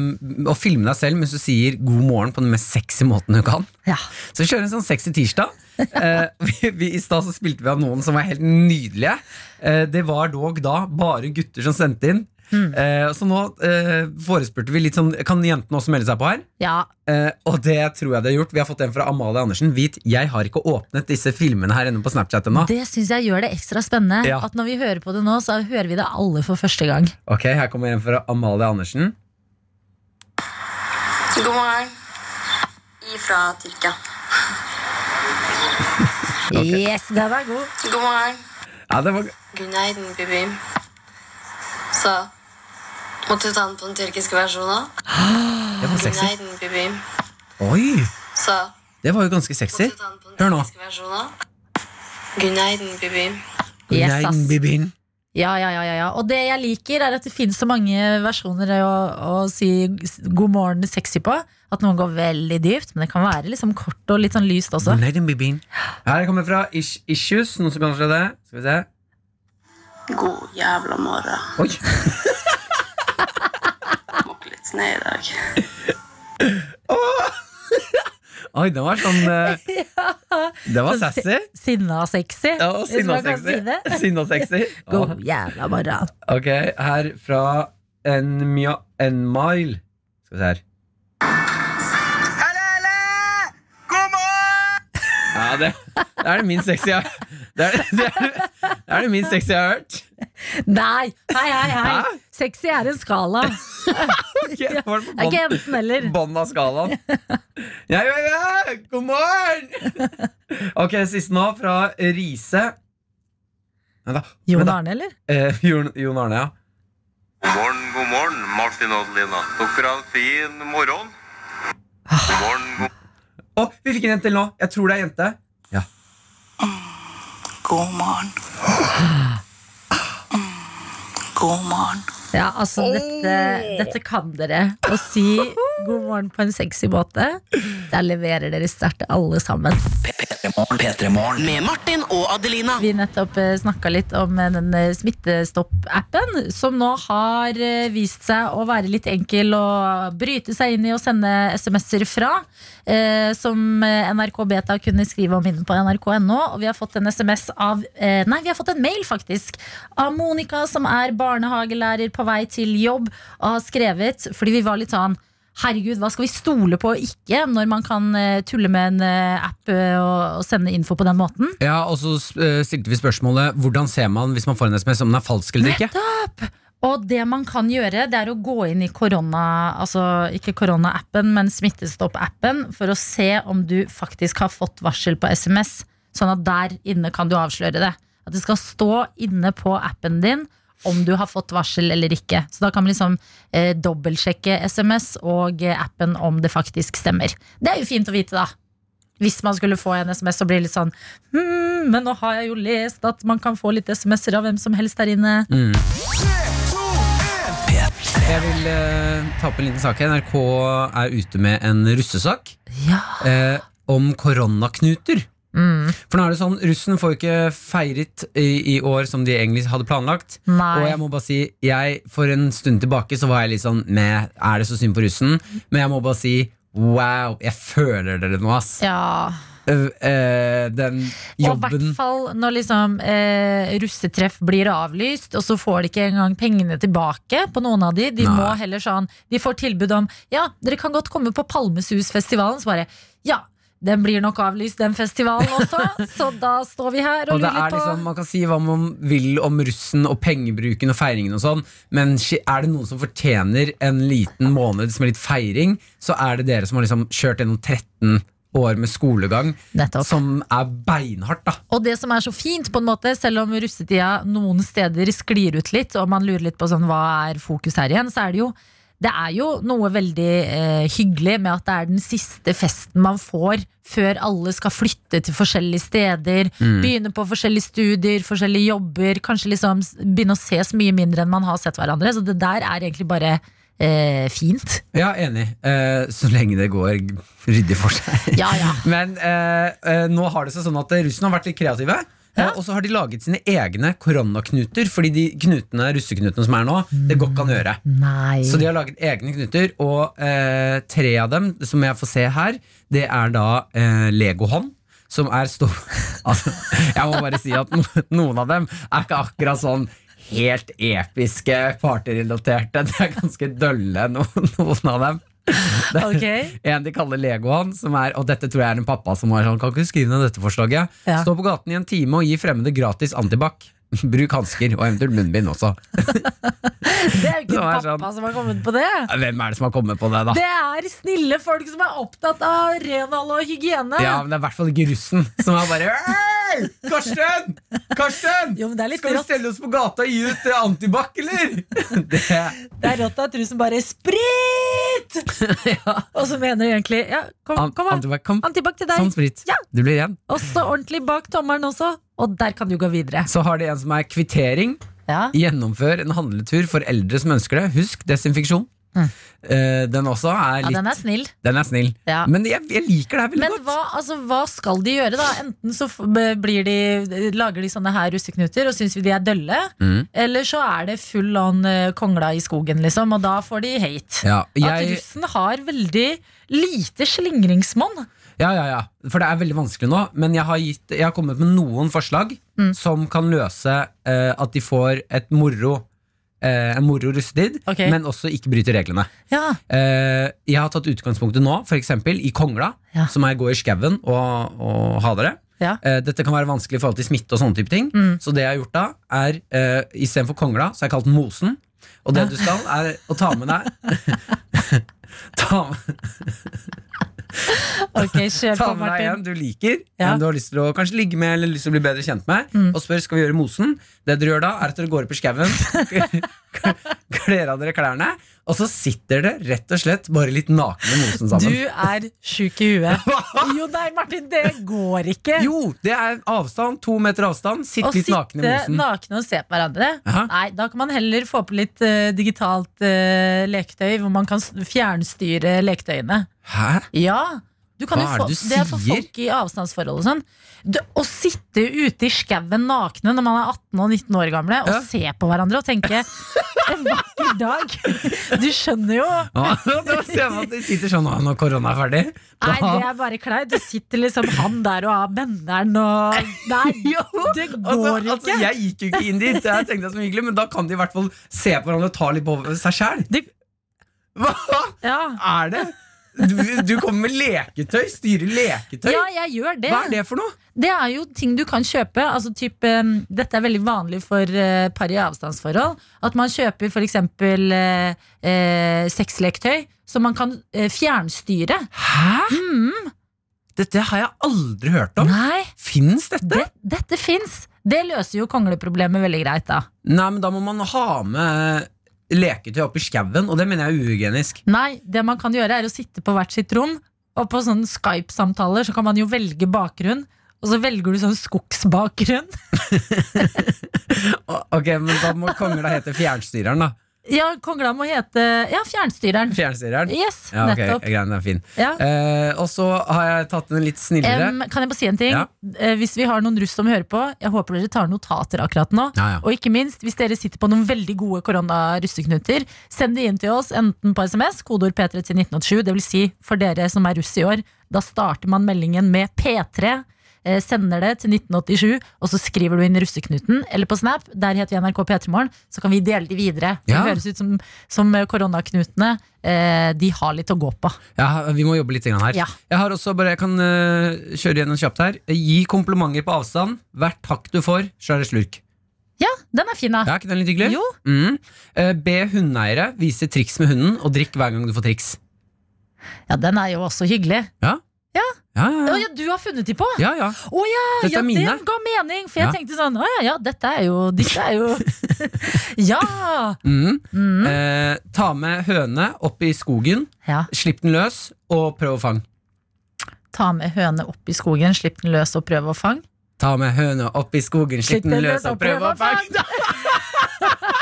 Speaker 4: og filme deg selv mens du sier god morgen på den mest sexy måten du kan.
Speaker 3: Ja.
Speaker 4: Så vi kjører en sånn sexy tirsdag. Eh, [laughs] vi, vi, I stad så spilte vi av noen som var helt nydelige. Eh, det var dog da bare gutter som sendte inn.
Speaker 3: Hmm.
Speaker 4: Eh, så nå eh, forespurte vi litt sånn Kan jentene også melde seg på her?
Speaker 3: ja.
Speaker 4: Eh, og det tror jeg de har gjort. Vi har fått en fra Amalie Andersen. Vit, jeg har ikke åpnet disse filmene her inne på Snapchat ennå.
Speaker 3: Det syns jeg gjør det ekstra spennende.
Speaker 4: Ja.
Speaker 3: At når vi hører på det nå, så hører vi det alle for første gang.
Speaker 4: Ok, her kommer en fra Amalie Andersen.
Speaker 6: God morgen. Ifra Tyrkia.
Speaker 3: Yes, den er god.
Speaker 6: God morgen.
Speaker 4: Ja, det var
Speaker 6: Günaydın bebeğim. Så måtte du ta den på den tyrkiske versjonen.
Speaker 4: Det var sexy.
Speaker 6: Günaydın bebeğim.
Speaker 4: Oi!
Speaker 6: Så
Speaker 4: Det var jo ganske
Speaker 6: måtte
Speaker 4: sexy.
Speaker 6: du ta den på den
Speaker 4: Hør nå.
Speaker 6: tyrkiske versjonen. Günaydın bebeğim.
Speaker 3: Yes, ass.
Speaker 4: Nein, bibin.
Speaker 3: Ja, ja, ja, ja, ja. Og det jeg liker, er at det finnes så mange versjoner å, å si s- god morgen sexy på. At noen går veldig dypt, men det kan være liksom kort og litt sånn lyst også.
Speaker 4: [laughs] Nein, bibin. Her kommer fra Ish Issues, noen som kanskje det. Skal vi se.
Speaker 7: God jævla morgen.
Speaker 4: Oi!
Speaker 7: Måtte litt snø i dag.
Speaker 4: Oi, den var sånn eh, Det
Speaker 3: [laughs]
Speaker 4: var sassy.
Speaker 3: Sinna sexy.
Speaker 4: Ja, og
Speaker 3: hvis man kan
Speaker 4: sinnasexy.
Speaker 3: si det.
Speaker 4: [laughs] Sinnasexy.
Speaker 3: [laughs] God jævla morgen.
Speaker 4: Ok, her fra en, mja, en mile Skal vi se her. Ja, det, det er det minst sexy jeg Det er det, det, er det, det, er det minst sexy jeg har
Speaker 3: [laughs]
Speaker 4: hørt.
Speaker 3: Nei, hei, hei, hei.
Speaker 4: Hæ?
Speaker 3: Sexy er en skala.
Speaker 4: [laughs] Ok, var det på
Speaker 3: Det er ikke
Speaker 4: bånn-
Speaker 3: enten eller.
Speaker 4: Bånn av skalaen. Ja, ja, ja! God morgen! Ok, siste nå, fra Riise. Vent da, vent
Speaker 3: Jon
Speaker 4: da.
Speaker 3: Arne, eller?
Speaker 4: Eh, Jon Jon Arne, ja.
Speaker 5: God morgen, god morgen, Martin og Adelina. Dere har en fin morgen. God morgen, god
Speaker 4: Å, vi fikk en jente til nå! Jeg tror det er jente. Ja.
Speaker 7: God morgen. God morgen.
Speaker 3: Ja, altså, dette, dette kan dere. Å si god morgen på en sexy måte, der leverer dere sterkt alle sammen.
Speaker 2: Med Martin og Adelina.
Speaker 3: Vi nettopp snakka litt om eh, den eh, Smittestopp-appen, som nå har eh, vist seg å være litt enkel å bryte seg inn i og sende SMS-er fra. eh, Som eh, NRK Beta kunne skrive om inne på nrk.no. Og vi har fått en SMS av eh, Nei, vi har fått en mail, faktisk. Av Monica, som er barnehagelærer på vei til jobb, og har skrevet, fordi vi var litt sånn herregud, hva skal vi stole på og ikke, når man kan eh, tulle med en eh, app eh, og, og sende info på den måten?
Speaker 4: Ja, og så eh, stilte vi spørsmålet Hvordan ser man hvis man får en sms om den er falsk eller ikke?
Speaker 3: Nettopp! Og det man kan gjøre, det er å gå inn i korona, altså ikke korona-appen, men Smittestopp-appen, for å se om du faktisk har fått varsel på SMS. Sånn at der inne kan du avsløre det. At det skal stå inne på appen din om du har fått varsel eller ikke. Så da kan man liksom eh, dobbeltsjekke SMS og eh, appen om det faktisk stemmer. Det er jo fint å vite, da. Hvis man skulle få en SMS og bli litt sånn hmm, Men nå har jeg jo lest at man kan få litt SMS-er av hvem som helst der inne.
Speaker 4: Jeg vil eh, ta opp en liten sak. her. NRK er ute med en russesak
Speaker 3: Ja.
Speaker 4: eh, om koronaknuter.
Speaker 3: Mm.
Speaker 4: For nå er det sånn, Russen får jo ikke feiret i, i år som de egentlig hadde planlagt. Og
Speaker 3: Nei.
Speaker 4: jeg må bare si, jeg, For en stund tilbake så var jeg litt sånn med, Er det så synd på russen? Men jeg må bare si wow, jeg føler dere nå, ass.
Speaker 3: Ja.
Speaker 4: Øh, eh, den
Speaker 3: Og i hvert
Speaker 4: jobben
Speaker 3: fall når liksom, eh, russetreff blir avlyst, og så får de ikke engang pengene tilbake på noen av de. De
Speaker 4: Nei.
Speaker 3: må heller sånn De får tilbud om Ja, dere kan godt komme på Palmesusfestivalen. Så bare Ja, den blir nok avlyst, den festivalen
Speaker 4: [laughs]
Speaker 3: også, så da står vi her og,
Speaker 4: og det
Speaker 3: lurer
Speaker 4: er
Speaker 3: på
Speaker 4: liksom, Man kan si hva man vil om russen og pengebruken og feiringen, og sånn men shi- er det noen som fortjener en liten måned med litt feiring, så er det dere som har liksom kjørt gjennom 13 år med skolegang,
Speaker 3: Nettopp.
Speaker 4: som er beinhardt. da
Speaker 3: Og det som er så fint, på en måte, selv om russetida noen steder sklir ut litt, og man lurer litt på sånn, hva er fokus her igjen, så er det jo det er jo noe veldig eh, hyggelig med at det er den siste festen man får før alle skal flytte til forskjellige steder,
Speaker 4: Mm.
Speaker 3: begynne på forskjellige studier, forskjellige jobber, kanskje liksom s- begynne å ses mye mindre enn man har sett hverandre. Så det der er egentlig bare eh, fint.
Speaker 4: Ja, enig. Eh, så lenge det går ryddig for seg.
Speaker 3: [laughs] Ja, ja.
Speaker 4: Men eh, eh, nå har det seg sånn at russen har vært litt kreative. eh, Og så har de laget sine egne koronaknuter, fordi de knutene, russeknutene som er nå, det går ikke an å gjøre.
Speaker 3: Nei.
Speaker 4: Så de har laget egne knuter, og eh, tre av dem som jeg får se her, det er da eh, legohånd. Som er stå... [laughs] Altså, jeg må bare si at no, noen av dem er ikke akkurat sånn helt episke partyrelaterte. Det er ganske dølle, no, noen av dem. Det,
Speaker 3: Ok.
Speaker 4: En de kaller legoen, som er Og dette tror jeg er en pappa som var sånn Kan ikke du skrive ned dette forslaget?
Speaker 3: Ja.
Speaker 4: Stå på gaten i en time og gi fremmede gratis antibac. Bruk hansker, og eventuelt munnbind også.
Speaker 3: det er jo ikke
Speaker 4: det var
Speaker 3: pappa
Speaker 4: sånn-
Speaker 3: som har kommet på det.
Speaker 4: Hvem er det som har kommet på det, da?
Speaker 3: Det er snille folk som er opptatt av renhold og hygiene.
Speaker 4: Ja, men det er i hvert fall ikke russen som er bare «Hei, Karsten! Karsten!
Speaker 3: Jo, men det er litt
Speaker 4: Skal vi
Speaker 3: rått.
Speaker 4: stelle oss på gata og gi ut eh, antibac, eller? [laughs] Det,
Speaker 3: Det er rått at du som bare
Speaker 4: [laughs]
Speaker 3: Sprit! Og så mener du egentlig ja, Kom,
Speaker 4: an,
Speaker 3: kom an,
Speaker 4: antibac, kom.
Speaker 3: Antibac til deg.
Speaker 4: Sånn sprit.
Speaker 3: Ja.
Speaker 4: Du blir igjen.
Speaker 3: Og så ordentlig bak tommelen også. Og der kan du gå videre.
Speaker 4: Så har de en som er kvittering.
Speaker 3: Ja.
Speaker 4: Gjennomfør en handletur for eldre som ønsker det. Husk desinfeksjon.
Speaker 3: Mm.
Speaker 4: Eh, den også er
Speaker 3: Ja,
Speaker 4: litt
Speaker 3: den er snill.
Speaker 4: Den er snill.
Speaker 3: Ja.
Speaker 4: Men jeg, jeg liker det her veldig
Speaker 3: Men
Speaker 4: godt.
Speaker 3: hva, altså, hva skal de gjøre, da? Enten så f- blir de, lager de sånne her russeknuter og syns vi de er dølle.
Speaker 4: Mm.
Speaker 3: Eller så er det full on eh, kongla i skogen, liksom. Og da får de hate.
Speaker 4: Ja,
Speaker 3: At
Speaker 4: jeg,
Speaker 3: russen har veldig lite slingringsmonn.
Speaker 4: ja, ja, ja. For det er veldig vanskelig nå, men jeg har, gitt, jeg har kommet med noen forslag
Speaker 3: Mm.
Speaker 4: som kan løse eh, at de får et moro, eh, en moro russetid,
Speaker 3: Ok.
Speaker 4: men også ikke bryter reglene.
Speaker 3: Ja,
Speaker 4: Eh, jeg har tatt utgangspunktet nå, f.eks. i Kongla,
Speaker 3: Ja.
Speaker 4: som er gå i skauen og, og ha dere.
Speaker 3: Ja.
Speaker 4: Eh, dette kan være vanskelig i forhold til smitte og sånne type ting.
Speaker 3: Mm.
Speaker 4: Så det jeg har gjort da, er eh, istedenfor Kongla, så har jeg kalt den Mosen. Og det du skal, er å ta med deg
Speaker 3: [laughs]
Speaker 4: [laughs] Ta med
Speaker 3: [laughs] ok, kjør
Speaker 4: Ta
Speaker 3: på,
Speaker 4: med deg en
Speaker 3: Martin.
Speaker 4: du liker,
Speaker 3: Ja. Mm.
Speaker 4: en du har lyst til å kanskje ligge med eller lyst til å bli bedre kjent med, og spør skal vi gjøre mosen. Det dere gjør da, er at dere går opp i skauen, [laughs] kler av dere klærne, og så sitter dere rett og slett bare litt nakne i mosen
Speaker 3: Du
Speaker 4: sammen.
Speaker 3: er sjuk i
Speaker 4: [laughs]
Speaker 3: huet. Jo, nei, Martin, det går ikke.
Speaker 4: Jo, det er en avstand, to meter avstand. Sitt
Speaker 3: Å
Speaker 4: litt
Speaker 3: sitte
Speaker 4: naken i mosen.
Speaker 3: nakne og se på hverandre.
Speaker 4: Jaha.
Speaker 3: Nei, Da kan man heller få på litt eh, digitalt eh, leketøy, hvor man kan s- fjernstyre leketøyene.
Speaker 4: Hæ?
Speaker 3: Ja, du kan
Speaker 4: Hva er
Speaker 3: jo
Speaker 4: det
Speaker 3: få,
Speaker 4: du
Speaker 3: det er for
Speaker 4: sier?
Speaker 3: folk i avstandsforhold og sånn. Du, å sitte ute i skauen nakne når man er 18 og 19 år gamle, og
Speaker 4: Ja.
Speaker 3: se på hverandre og tenke En vakker dag! Du skjønner jo.
Speaker 4: Ah, [laughs] da ser man at de sitter sånn «Å, når korona er ferdig. Da,
Speaker 3: Nei, det er bare kleint. Du sitter liksom han der og har benderen og
Speaker 4: [laughs]
Speaker 3: Nei, det
Speaker 4: altså,
Speaker 3: går
Speaker 4: altså,
Speaker 3: ikke.
Speaker 4: jeg gikk jo ikke inn dit, jeg tenkte det var så hyggelig, men da kan de i hvert fall se på hverandre og ta litt på seg sjæl.
Speaker 3: Det-
Speaker 4: Hva
Speaker 3: Ja.
Speaker 4: er det? Du, du kommer med leketøy? Styrer leketøy?
Speaker 3: ja, jeg gjør det.
Speaker 4: Hva er det for noe?
Speaker 3: Det er jo ting du kan kjøpe. Altså typ, em, dette er veldig vanlig for eh, par i avstandsforhold. At man kjøper f.eks. Uh, sexleketøy som man kan eh, fjernstyre.
Speaker 4: Hæ? Dette har jeg aldri hørt om.
Speaker 3: Hmm. Nei,
Speaker 4: Fins dette?
Speaker 3: det, dette fins! Det løser jo kongleproblemet veldig greit, da.
Speaker 4: Nei, men da må man ha med leketøy opp i skauen, og det mener jeg er uhygienisk.
Speaker 3: Nei, det man kan gjøre er å sitte på hvert sitt rom, og på sånne Skype-samtaler så kan man jo velge bakgrunn. Og så velger du sånn skogsbakgrunn. [laughs]
Speaker 4: Å, Ok, men da må kongla hete fjernstyreren, da.
Speaker 3: Ja, kongla må hete Ja, fjernstyreren.
Speaker 4: Fjernstyreren.
Speaker 3: Yes,
Speaker 4: Ja, ok,
Speaker 3: nettopp.
Speaker 4: greit, den er fin.
Speaker 3: Ja.
Speaker 4: Eh, og så har jeg tatt en litt snillere.
Speaker 3: Em, kan jeg bare si en ting?
Speaker 4: Ja.
Speaker 3: Eh, Hvis vi har noen russ som hører på, jeg håper dere tar notater akkurat nå.
Speaker 4: Ja, ja.
Speaker 3: Og ikke minst, hvis dere sitter på noen veldig gode korona-russeknuter, send de inn til oss enten på SMS, kodeord P3 til 1987, det vil si for dere som er russ i år, da starter man meldingen med P3. eh, Sender det til 1987, og så skriver du inn russeknuten. Eller på Snap, der heter vi NRK P3morgen. Så kan vi dele de videre.
Speaker 4: Ja.
Speaker 3: Det høres ut som, som koronaknutene. eh, De har litt å gå på.
Speaker 4: Ja, vi må jobbe litt grann her.
Speaker 3: Ja.
Speaker 4: Jeg har også bare, jeg kan eh, kjøre gjennom kjapt her. Gi komplimenter på avstand. Hvert takk du får, så er det slurk.
Speaker 3: Ja, den er fin, da.
Speaker 4: Ja, er ikke den litt hyggelig?
Speaker 3: Jo.
Speaker 4: Mm. Eh, be hundeeiere vise triks med hunden, og drikk hver gang du får triks.
Speaker 3: Ja, den er jo også hyggelig.
Speaker 4: Ja, ja,
Speaker 3: Å
Speaker 4: ja.
Speaker 3: ja, du har funnet de på?
Speaker 4: ja, ja.
Speaker 3: Å ja,
Speaker 4: Dette
Speaker 3: ja
Speaker 4: er mine.
Speaker 3: den ga mening! For jeg
Speaker 4: Ja.
Speaker 3: tenkte sånn, å ja, ja, dette er jo Disse er
Speaker 4: [laughs]
Speaker 3: jo Ja!
Speaker 4: Mm.
Speaker 3: Mm.
Speaker 4: Eh, ta med høne opp i skogen,
Speaker 3: ja.
Speaker 4: slipp den løs, og prøv å fange.
Speaker 3: Ta med høne opp i skogen, slipp den løs og prøv å fange.
Speaker 4: Ta med høna opp i skogen, slipp den løs, og prøv å fange.
Speaker 3: [laughs]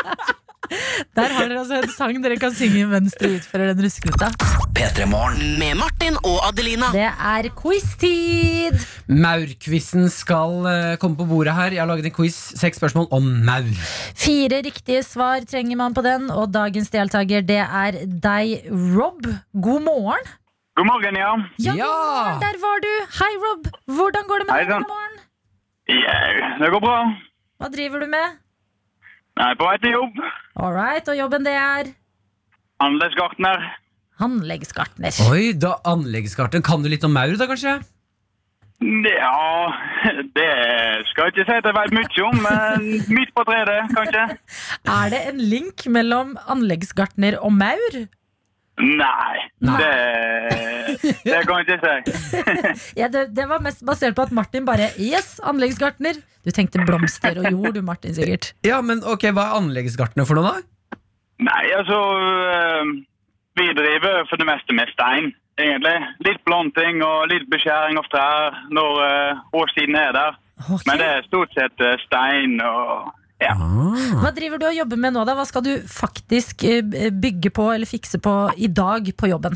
Speaker 3: Der har dere altså en sang dere kan synge mens dere utfører den ruskekluta.
Speaker 2: Med Martin og Adelina.
Speaker 3: Det er quiz-tid!
Speaker 4: Maurquizen skal eh, komme på bordet her. Jeg har laget en quiz, seks spørsmål om maur.
Speaker 3: Fire riktige svar trenger man på den, og dagens deltaker det er deg, Rob. God morgen.
Speaker 8: God morgen, ja.
Speaker 3: Ja,
Speaker 4: Ja.
Speaker 3: God morgen, der var du! Hei, Rob. Hvordan går det
Speaker 8: Hei,
Speaker 3: med deg?
Speaker 8: sann.
Speaker 3: God morgen.
Speaker 8: Jau, det går bra.
Speaker 3: Hva driver du med?
Speaker 8: Nei, på vei til jobb.
Speaker 3: All right, og jobben det er
Speaker 8: Anleggsgartner.
Speaker 3: anleggsgartner.
Speaker 4: Oi, da anleggskarten. Kan du litt om maur, da, kanskje?
Speaker 8: Ja, det skal jeg ikke si at jeg vet mye om, men midt på tredje, kanskje?
Speaker 3: Er det en link mellom anleggsgartner og maur?
Speaker 8: Nei,
Speaker 4: Nei.
Speaker 8: Det, det kan jeg ikke si.
Speaker 3: Ja, det, det var mest basert på at Martin bare Yes, anleggsgartner! Du tenkte blomster og jord, du, Martin, sikkert.
Speaker 4: Ja, men ok, Hva er anleggsgartene for noe, da?
Speaker 8: Nei, altså eh, Vi driver for det meste med stein, egentlig. Litt planting og litt beskjæring av trær når eh, årstiden er der.
Speaker 3: Ok.
Speaker 8: Men det er stort sett eh, stein og ja.
Speaker 3: Hva driver du og jobber med nå, da? Hva skal du faktisk eh, bygge på eller fikse på i dag på jobben?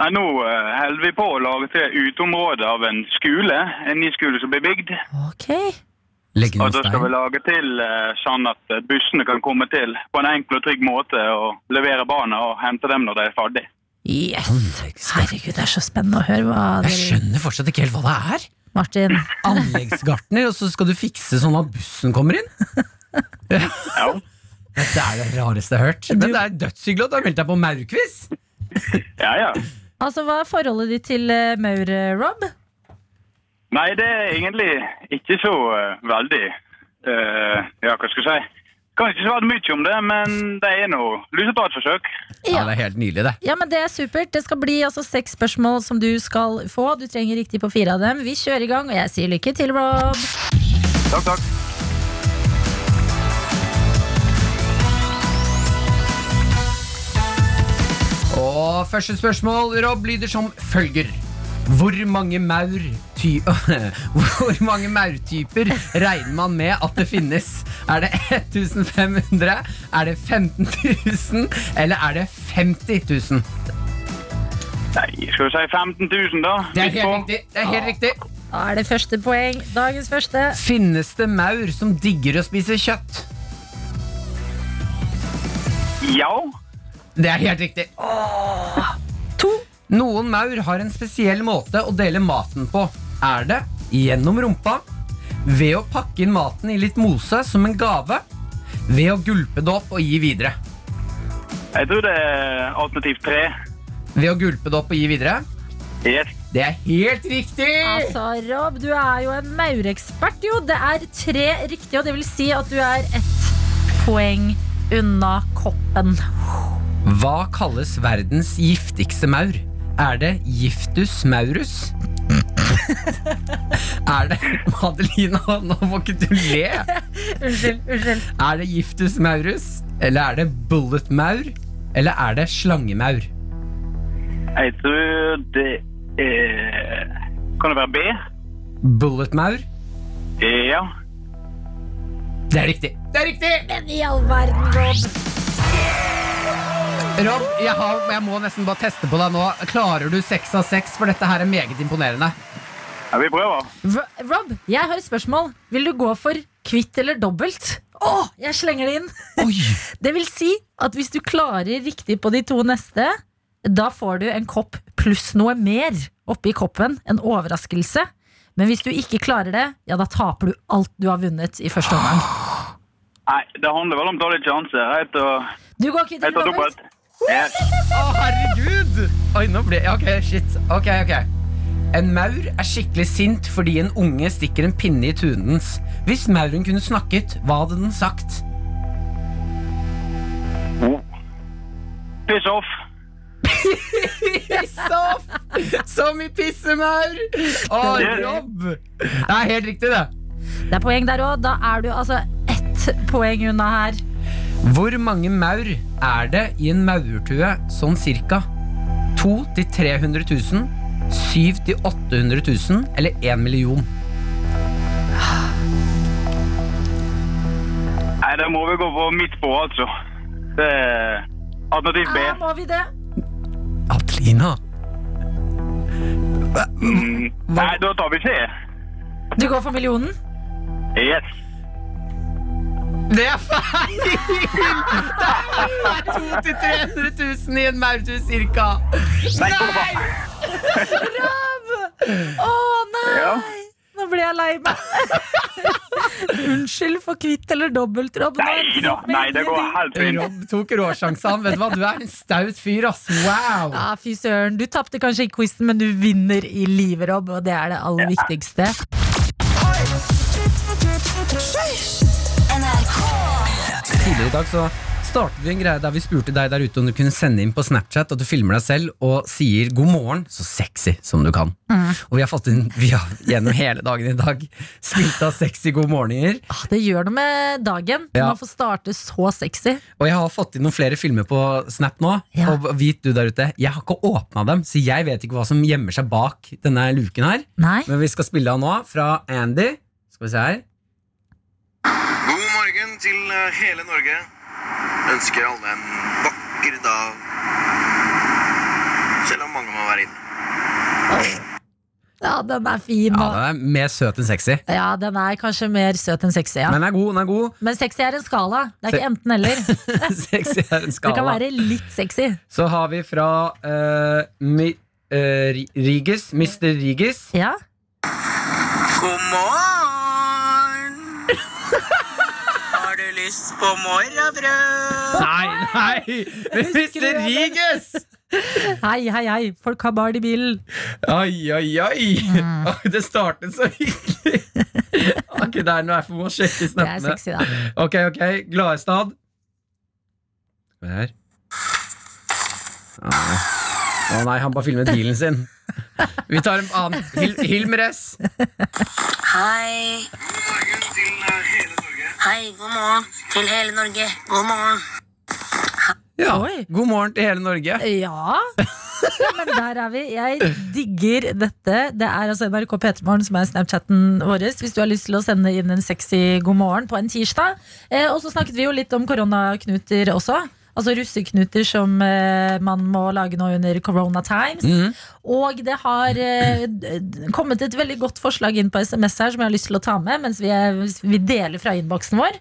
Speaker 8: Nei, nå eh, holder vi på å lage til uteområde av en skole, en ny skole som blir bygd.
Speaker 3: Ok.
Speaker 4: Legge
Speaker 8: Og
Speaker 4: ned
Speaker 8: da skal vi
Speaker 4: stein.
Speaker 8: lage til eh, sånn at eh, bussene kan komme til på en enkel og trygg måte og levere barna og hente dem når de er ferdig.
Speaker 3: Yes! Herregud, det er så spennende å høre hva
Speaker 4: Jeg
Speaker 3: dere
Speaker 4: skjønner fortsatt ikke helt hva det er.
Speaker 3: Martin.
Speaker 4: Anleggsgartner, og så skal du fikse sånn at bussen kommer inn?
Speaker 8: Ja.
Speaker 4: Dette er det rareste jeg har hørt. Men det er dødshyggelig at du har meldt deg på maurquiz.
Speaker 8: ja, ja.
Speaker 3: Altså, hva er forholdet ditt til eh, maur, eh, Rob?
Speaker 8: Nei, det er egentlig ikke så eh, veldig eh, Ja, hva skal jeg si? Kan ikke svare mye om det, men det er nå lyset av et forsøk.
Speaker 4: Ja, det er helt nydelig, det.
Speaker 3: Ja, men Det er supert. Det skal bli altså seks spørsmål som du skal få. Du trenger riktig på fire av dem. Vi kjører i gang, og jeg sier lykke til, Rob.
Speaker 8: Takk, takk.
Speaker 4: Og første spørsmål, Rob, lyder som følger. Hvor mange maur ty [laughs] Hvor mange maurtyper regner man med at det finnes? Er det 1500? Er det 15 000? Eller er det 50 000?
Speaker 8: Nei, skal vi si 15 000, da?
Speaker 4: Det er
Speaker 8: Litt på.
Speaker 4: helt riktig. Det er helt riktig.
Speaker 3: Da er det første poeng. Dagens første.
Speaker 4: Finnes det maur som digger å spise kjøtt?
Speaker 8: Ja.
Speaker 4: Det er helt riktig.
Speaker 3: To.
Speaker 4: Noen maur har en spesiell måte å dele maten på. Er det gjennom rumpa, ved å pakke inn maten i litt mose som en gave, ved å gulpe det opp og gi videre?
Speaker 9: Jeg tror det er alternativ tre.
Speaker 4: Ved å gulpe det opp og gi videre?
Speaker 9: Yes.
Speaker 4: Det er helt riktig!
Speaker 3: Altså, Rob, du er jo en maurekspert, jo. Det er tre riktige, og det vil si at du er ett poeng unna koppen.
Speaker 4: Hva kalles verdens giftigste maur? Er det giftus maurus? [laughs] er det Madelina, nå må ikke du le!
Speaker 3: Unnskyld. unnskyld
Speaker 4: Er det giftus maurus? Eller er det bulletmaur? Eller er det slangemaur?
Speaker 9: Jeg tror det er Kan det være B?
Speaker 4: Bulletmaur?
Speaker 9: Ja.
Speaker 4: Det er riktig. Det er riktig!
Speaker 3: Men i all verden, Rob.
Speaker 4: Rob, jeg, har, jeg må nesten bare teste på deg nå. Klarer du seks av seks? For dette her er meget imponerende.
Speaker 9: ja vi prøver.
Speaker 3: Ro- Rob, jeg har et spørsmål. Vil du gå for kvitt eller dobbelt? Å, jeg slenger det inn!
Speaker 4: Oi!
Speaker 3: Det vil si at hvis du klarer riktig på de to neste, da får du en kopp pluss noe mer oppi koppen. En overraskelse. Men hvis du ikke klarer det, ja, da taper du alt du har vunnet i første omgang.
Speaker 9: Nei, det handler vel om dårlige sjanser. Jeg tar,
Speaker 3: Du går kvitt
Speaker 9: jeg
Speaker 3: eller
Speaker 9: tar
Speaker 3: dobbelt?
Speaker 9: dobbelt. Yes.
Speaker 4: Å, herregud! Oi, nå ble Ok, shit. Ok, ok. En maur er skikkelig sint fordi en unge stikker en pinne i tunen dens. Hvis mauren kunne snakket, hva hadde den sagt?
Speaker 9: Piss off.
Speaker 4: Piss off! Som i pissemaur! Å, Rob! Det er helt riktig, det.
Speaker 3: Det er poeng der òg. Da er du altså ett poeng unna her.
Speaker 4: Hvor mange maur er det i en maurtue sånn cirka? 2 til 300 000, 7 til 800 000 eller 1 million?
Speaker 9: Nei, det må vi gå for midt på, altså. Det er alternativ B.
Speaker 3: Ja, må vi det?
Speaker 4: Adelina!
Speaker 9: Mm. Nei, da tar vi C.
Speaker 3: Du går for millionen?
Speaker 9: Yes.
Speaker 4: Det er feil! Det er 2 til 300 000 i en maurtue cirka. Nei!
Speaker 3: Å nei!
Speaker 9: Ja.
Speaker 3: Nå ble jeg lei meg. [laughs] Unnskyld for kvitt eller dobbelt, Rob. Nå
Speaker 9: Nei da.
Speaker 3: driver jeg
Speaker 9: Nei, det
Speaker 3: med
Speaker 9: går
Speaker 3: ting.
Speaker 9: helt fint.
Speaker 4: Rob tok råsjansen. Vet du hva, du er en staut fyr, ass. Wow!
Speaker 3: Ja, fy søren. Du tapte kanskje i quizen, men du vinner i livet, Rob, og det er det aller viktigste.
Speaker 4: tidligere i dag så startet vi en greie der vi spurte deg der ute om du kunne sende inn på Snapchat at du filmer deg selv og sier 'god morgen' så sexy som du kan. Og vi har fått inn vi har, gjennom hele dagen i dag spilt av sexy god morgener.
Speaker 3: Ah, Det gjør noe med dagen.
Speaker 4: Ja.
Speaker 3: Man får starte så sexy.
Speaker 4: Og jeg har fått inn noen flere filmer på Snap nå.
Speaker 3: Ja.
Speaker 4: Og vit du der ute, jeg har ikke åpna dem, så jeg vet ikke hva som gjemmer seg bak denne luken her.
Speaker 3: Nei?
Speaker 4: Men vi skal spille av nå, fra Andy. Skal vi se her.
Speaker 5: God morgen til eh, hele Norge. Ønsker alle en vakker dag. Selv om mange må være inne.
Speaker 3: Ja, den er fin.
Speaker 4: Ja,
Speaker 3: og-
Speaker 4: den er mer søt enn sexy.
Speaker 3: Ja, den er kanskje mer søt enn sexy, ja.
Speaker 4: Men den er god, den er god. [laughs]
Speaker 3: Men sexy er en skala. Det er
Speaker 4: Se-
Speaker 3: ikke
Speaker 4: [laughs]
Speaker 3: enten-eller.
Speaker 4: sexy er en
Speaker 3: Du
Speaker 4: skala.
Speaker 3: kan være litt sexy.
Speaker 4: Så har vi fra eh, Mi, eh, Ri- Riges, Mr. Riges.
Speaker 3: Ja?
Speaker 7: God morgen! [laughs] Har du lyst på morrabrød?
Speaker 4: Nei, nei! Mr. Riges!
Speaker 3: Hei, hei, hei. Folk har bard i bilen.
Speaker 4: Oi, oi, oi!
Speaker 3: Mm.
Speaker 4: Oi, Det startet så hyggelig. Ok, det er noe jeg må sjekke
Speaker 3: Det er
Speaker 4: snappene.
Speaker 3: sexy, da.
Speaker 4: Ok, ok, Gladestad. Hva er det her? Nei. Å nei, han bare filmet bilen sin. Vi tar en annen. Hil Hilmer S.
Speaker 10: Hei. Hei, god morgen til hele Norge. God morgen.
Speaker 4: Ja.
Speaker 3: Oi.
Speaker 4: God morgen til hele Norge.
Speaker 3: Eh, Ja. Men der er vi. Jeg digger dette. Det er altså NRK P3morgen som er Snapchatten vår. Hvis du har lyst til å sende inn en sexy god morgen på en tirsdag. Eh, og så snakket vi jo litt om koronaknuter også. Altså russeknuter som eh, man må lage nå under Corona Times. Og det har eh, d- d- kommet et veldig godt forslag inn på SMS her som jeg har lyst til å ta med mens vi, er, vi deler fra innboksen vår.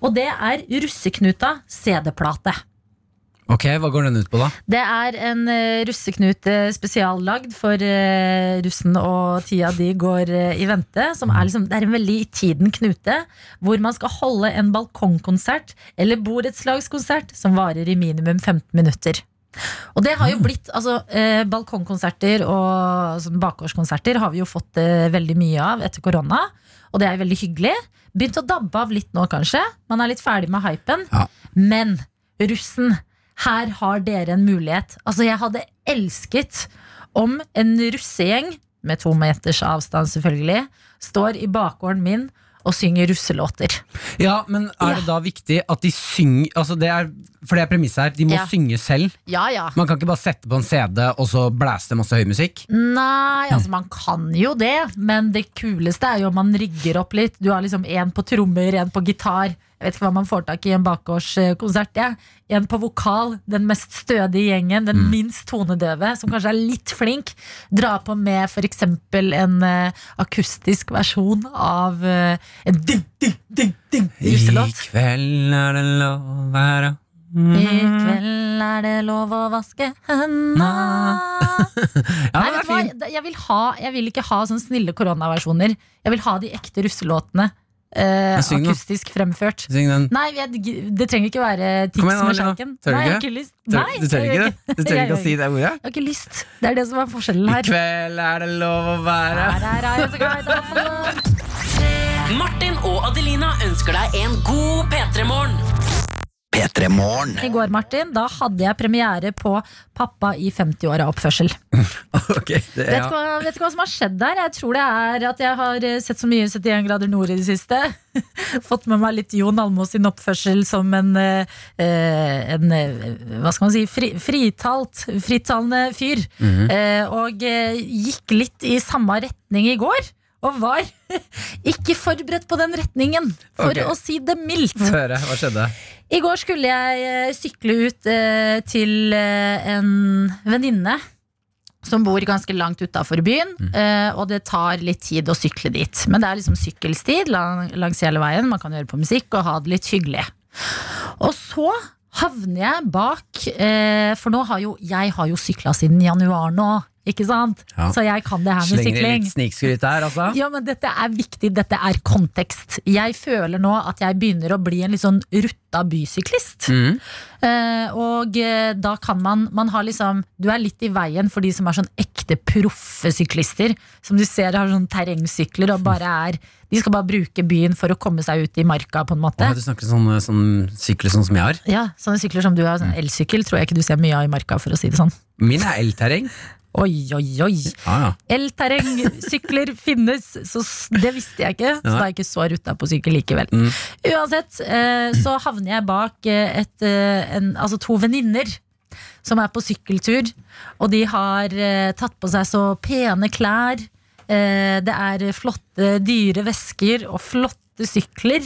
Speaker 3: Og det er russeknuta CD-plate.
Speaker 4: Ok, Hva går den ut på, da?
Speaker 3: Det er en eh, russeknut eh, spesiallagd for eh, russen og tida de går eh, i vente. Som er liksom, det er en veldig i tiden knute, hvor man skal holde en balkongkonsert eller borettslagskonsert som varer i minimum 15 minutter. Og det har jo blitt, altså eh, Balkongkonserter og sånn bakgårdskonserter har vi jo fått eh, veldig mye av etter korona. Og det er veldig hyggelig. Begynt å dabbe av litt nå, kanskje. Man er litt ferdig med hypen.
Speaker 4: Ja.
Speaker 3: Men russen, her har dere en mulighet. Altså, jeg hadde elsket om en russegjeng, med to meters avstand selvfølgelig, står i bakgården min og synger russelåter.
Speaker 4: Ja, men Er det da viktig at de synger altså det er, For det er premisset her. De må
Speaker 3: Ja.
Speaker 4: synge selv.
Speaker 3: Ja, ja.
Speaker 4: Man kan ikke bare sette på en CD og så blæste masse høy musikk.
Speaker 3: Nei, altså man kan jo det, men det kuleste er jo om man rigger opp litt. Du har liksom én på trommer, én på gitar. Jeg vet ikke hva man får tak i i en bakgårdskonsert. Ja. En på vokal, den mest stødige gjengen, den minst tonedøve, som kanskje er litt flink. Dra på med f.eks. en eh, akustisk versjon av eh, en ding, ding, ding, ding russelåt.
Speaker 4: kveld er det lov her
Speaker 3: I kveld er det lov å vaske henda.
Speaker 4: Ja,
Speaker 3: Nei, vet
Speaker 4: det er
Speaker 3: du hva?
Speaker 4: fint.
Speaker 3: Jeg vil, ha, jeg vil ikke ha sånne snille koronaversjoner. Jeg vil ha de ekte russelåtene. eh,
Speaker 4: Men syng den.
Speaker 3: akustisk fremført.
Speaker 4: Syng den.
Speaker 3: Nei, jeg, det trenger ikke være tics
Speaker 4: Kom igjen,
Speaker 3: med
Speaker 4: Adelina.
Speaker 3: skjenken.
Speaker 4: Tør du
Speaker 3: Nei, jeg har
Speaker 4: ikke?
Speaker 3: ikke lyst.
Speaker 4: Tør-
Speaker 3: Nei,
Speaker 4: du tør
Speaker 3: jeg
Speaker 4: ikke
Speaker 3: gjør
Speaker 4: det? Du tør
Speaker 3: Jeg
Speaker 4: ikke å
Speaker 3: gjør
Speaker 4: si det ordet?
Speaker 3: Jeg har ikke lyst. Det er det som er forskjellen
Speaker 4: I
Speaker 3: her.
Speaker 4: kveld er det lov å være
Speaker 3: Her er jeg så glad i deg.
Speaker 4: [laughs]
Speaker 2: Martin og Adelina ønsker deg en god P3-morgen.
Speaker 3: I går, Martin, da hadde jeg premiere på Pappa i 50-åra-oppførsel.
Speaker 4: [laughs] Ok, det,
Speaker 3: Vet, du
Speaker 4: ja.
Speaker 3: hva- vet du hva som har skjedd der? Jeg tror det er at jeg har eh, sett så mye 71 grader nord i det siste. [laughs] Fått med meg litt Jon Almaas sin oppførsel som en, eh, eh, en eh, Hva skal man si? Fri, fritalt, frittalende fyr.
Speaker 4: Mhm.
Speaker 3: Eh, Og eh, gikk litt i samme retning i går. Og var [laughs] ikke forberedt på den retningen, for
Speaker 4: Ok.
Speaker 3: å si det mildt.
Speaker 4: Høre, hva skjedde?
Speaker 3: I går skulle jeg eh, sykle ut eh, til eh, en venninne som bor ganske langt utafor byen,
Speaker 4: Mm.
Speaker 3: eh, og det tar litt tid å sykle dit. Men det er liksom sykkelsti lang, langs hele veien, man kan høre på musikk og ha det litt hyggelig. Og så havner jeg bak, eh, for nå har jo jeg har jo sykla siden januar nå, ikke sant?
Speaker 4: Ja.
Speaker 3: Så jeg kan det her med
Speaker 4: Slenger
Speaker 3: sykling.
Speaker 4: litt snikskryt der, altså?
Speaker 3: Ja, men dette er viktig, dette er kontekst. Jeg føler nå at jeg begynner å bli en litt sånn rutta bysyklist.
Speaker 4: Mhm.
Speaker 3: Eh, og eh, da kan man Man har liksom Du er litt i veien for de som er sånn ekte proffe syklister. Som du ser har sånn terrengsykler og bare er De skal bare bruke byen for å komme seg ut i marka, på en måte.
Speaker 4: Å, du snakker sånn, sånn sykler sånn som jeg har.
Speaker 3: Ja, Sånne sykler som du har, sånn elsykkel, tror jeg ikke du ser mye av i marka, for å si det sånn.
Speaker 4: Min er elterreng.
Speaker 3: Oi, oi, oi.
Speaker 4: Ja, ja.
Speaker 3: Elterrengsykler finnes, så s- det visste jeg ikke. Så da er jeg ikke så rutta på sykkel likevel.
Speaker 4: Mm.
Speaker 3: Uansett eh, så havner jeg bak eh, et, eh, en, altså to venninner som er på sykkeltur. Og de har eh, tatt på seg så pene klær. Eh, det er flotte, dyre vesker og flotte sykler.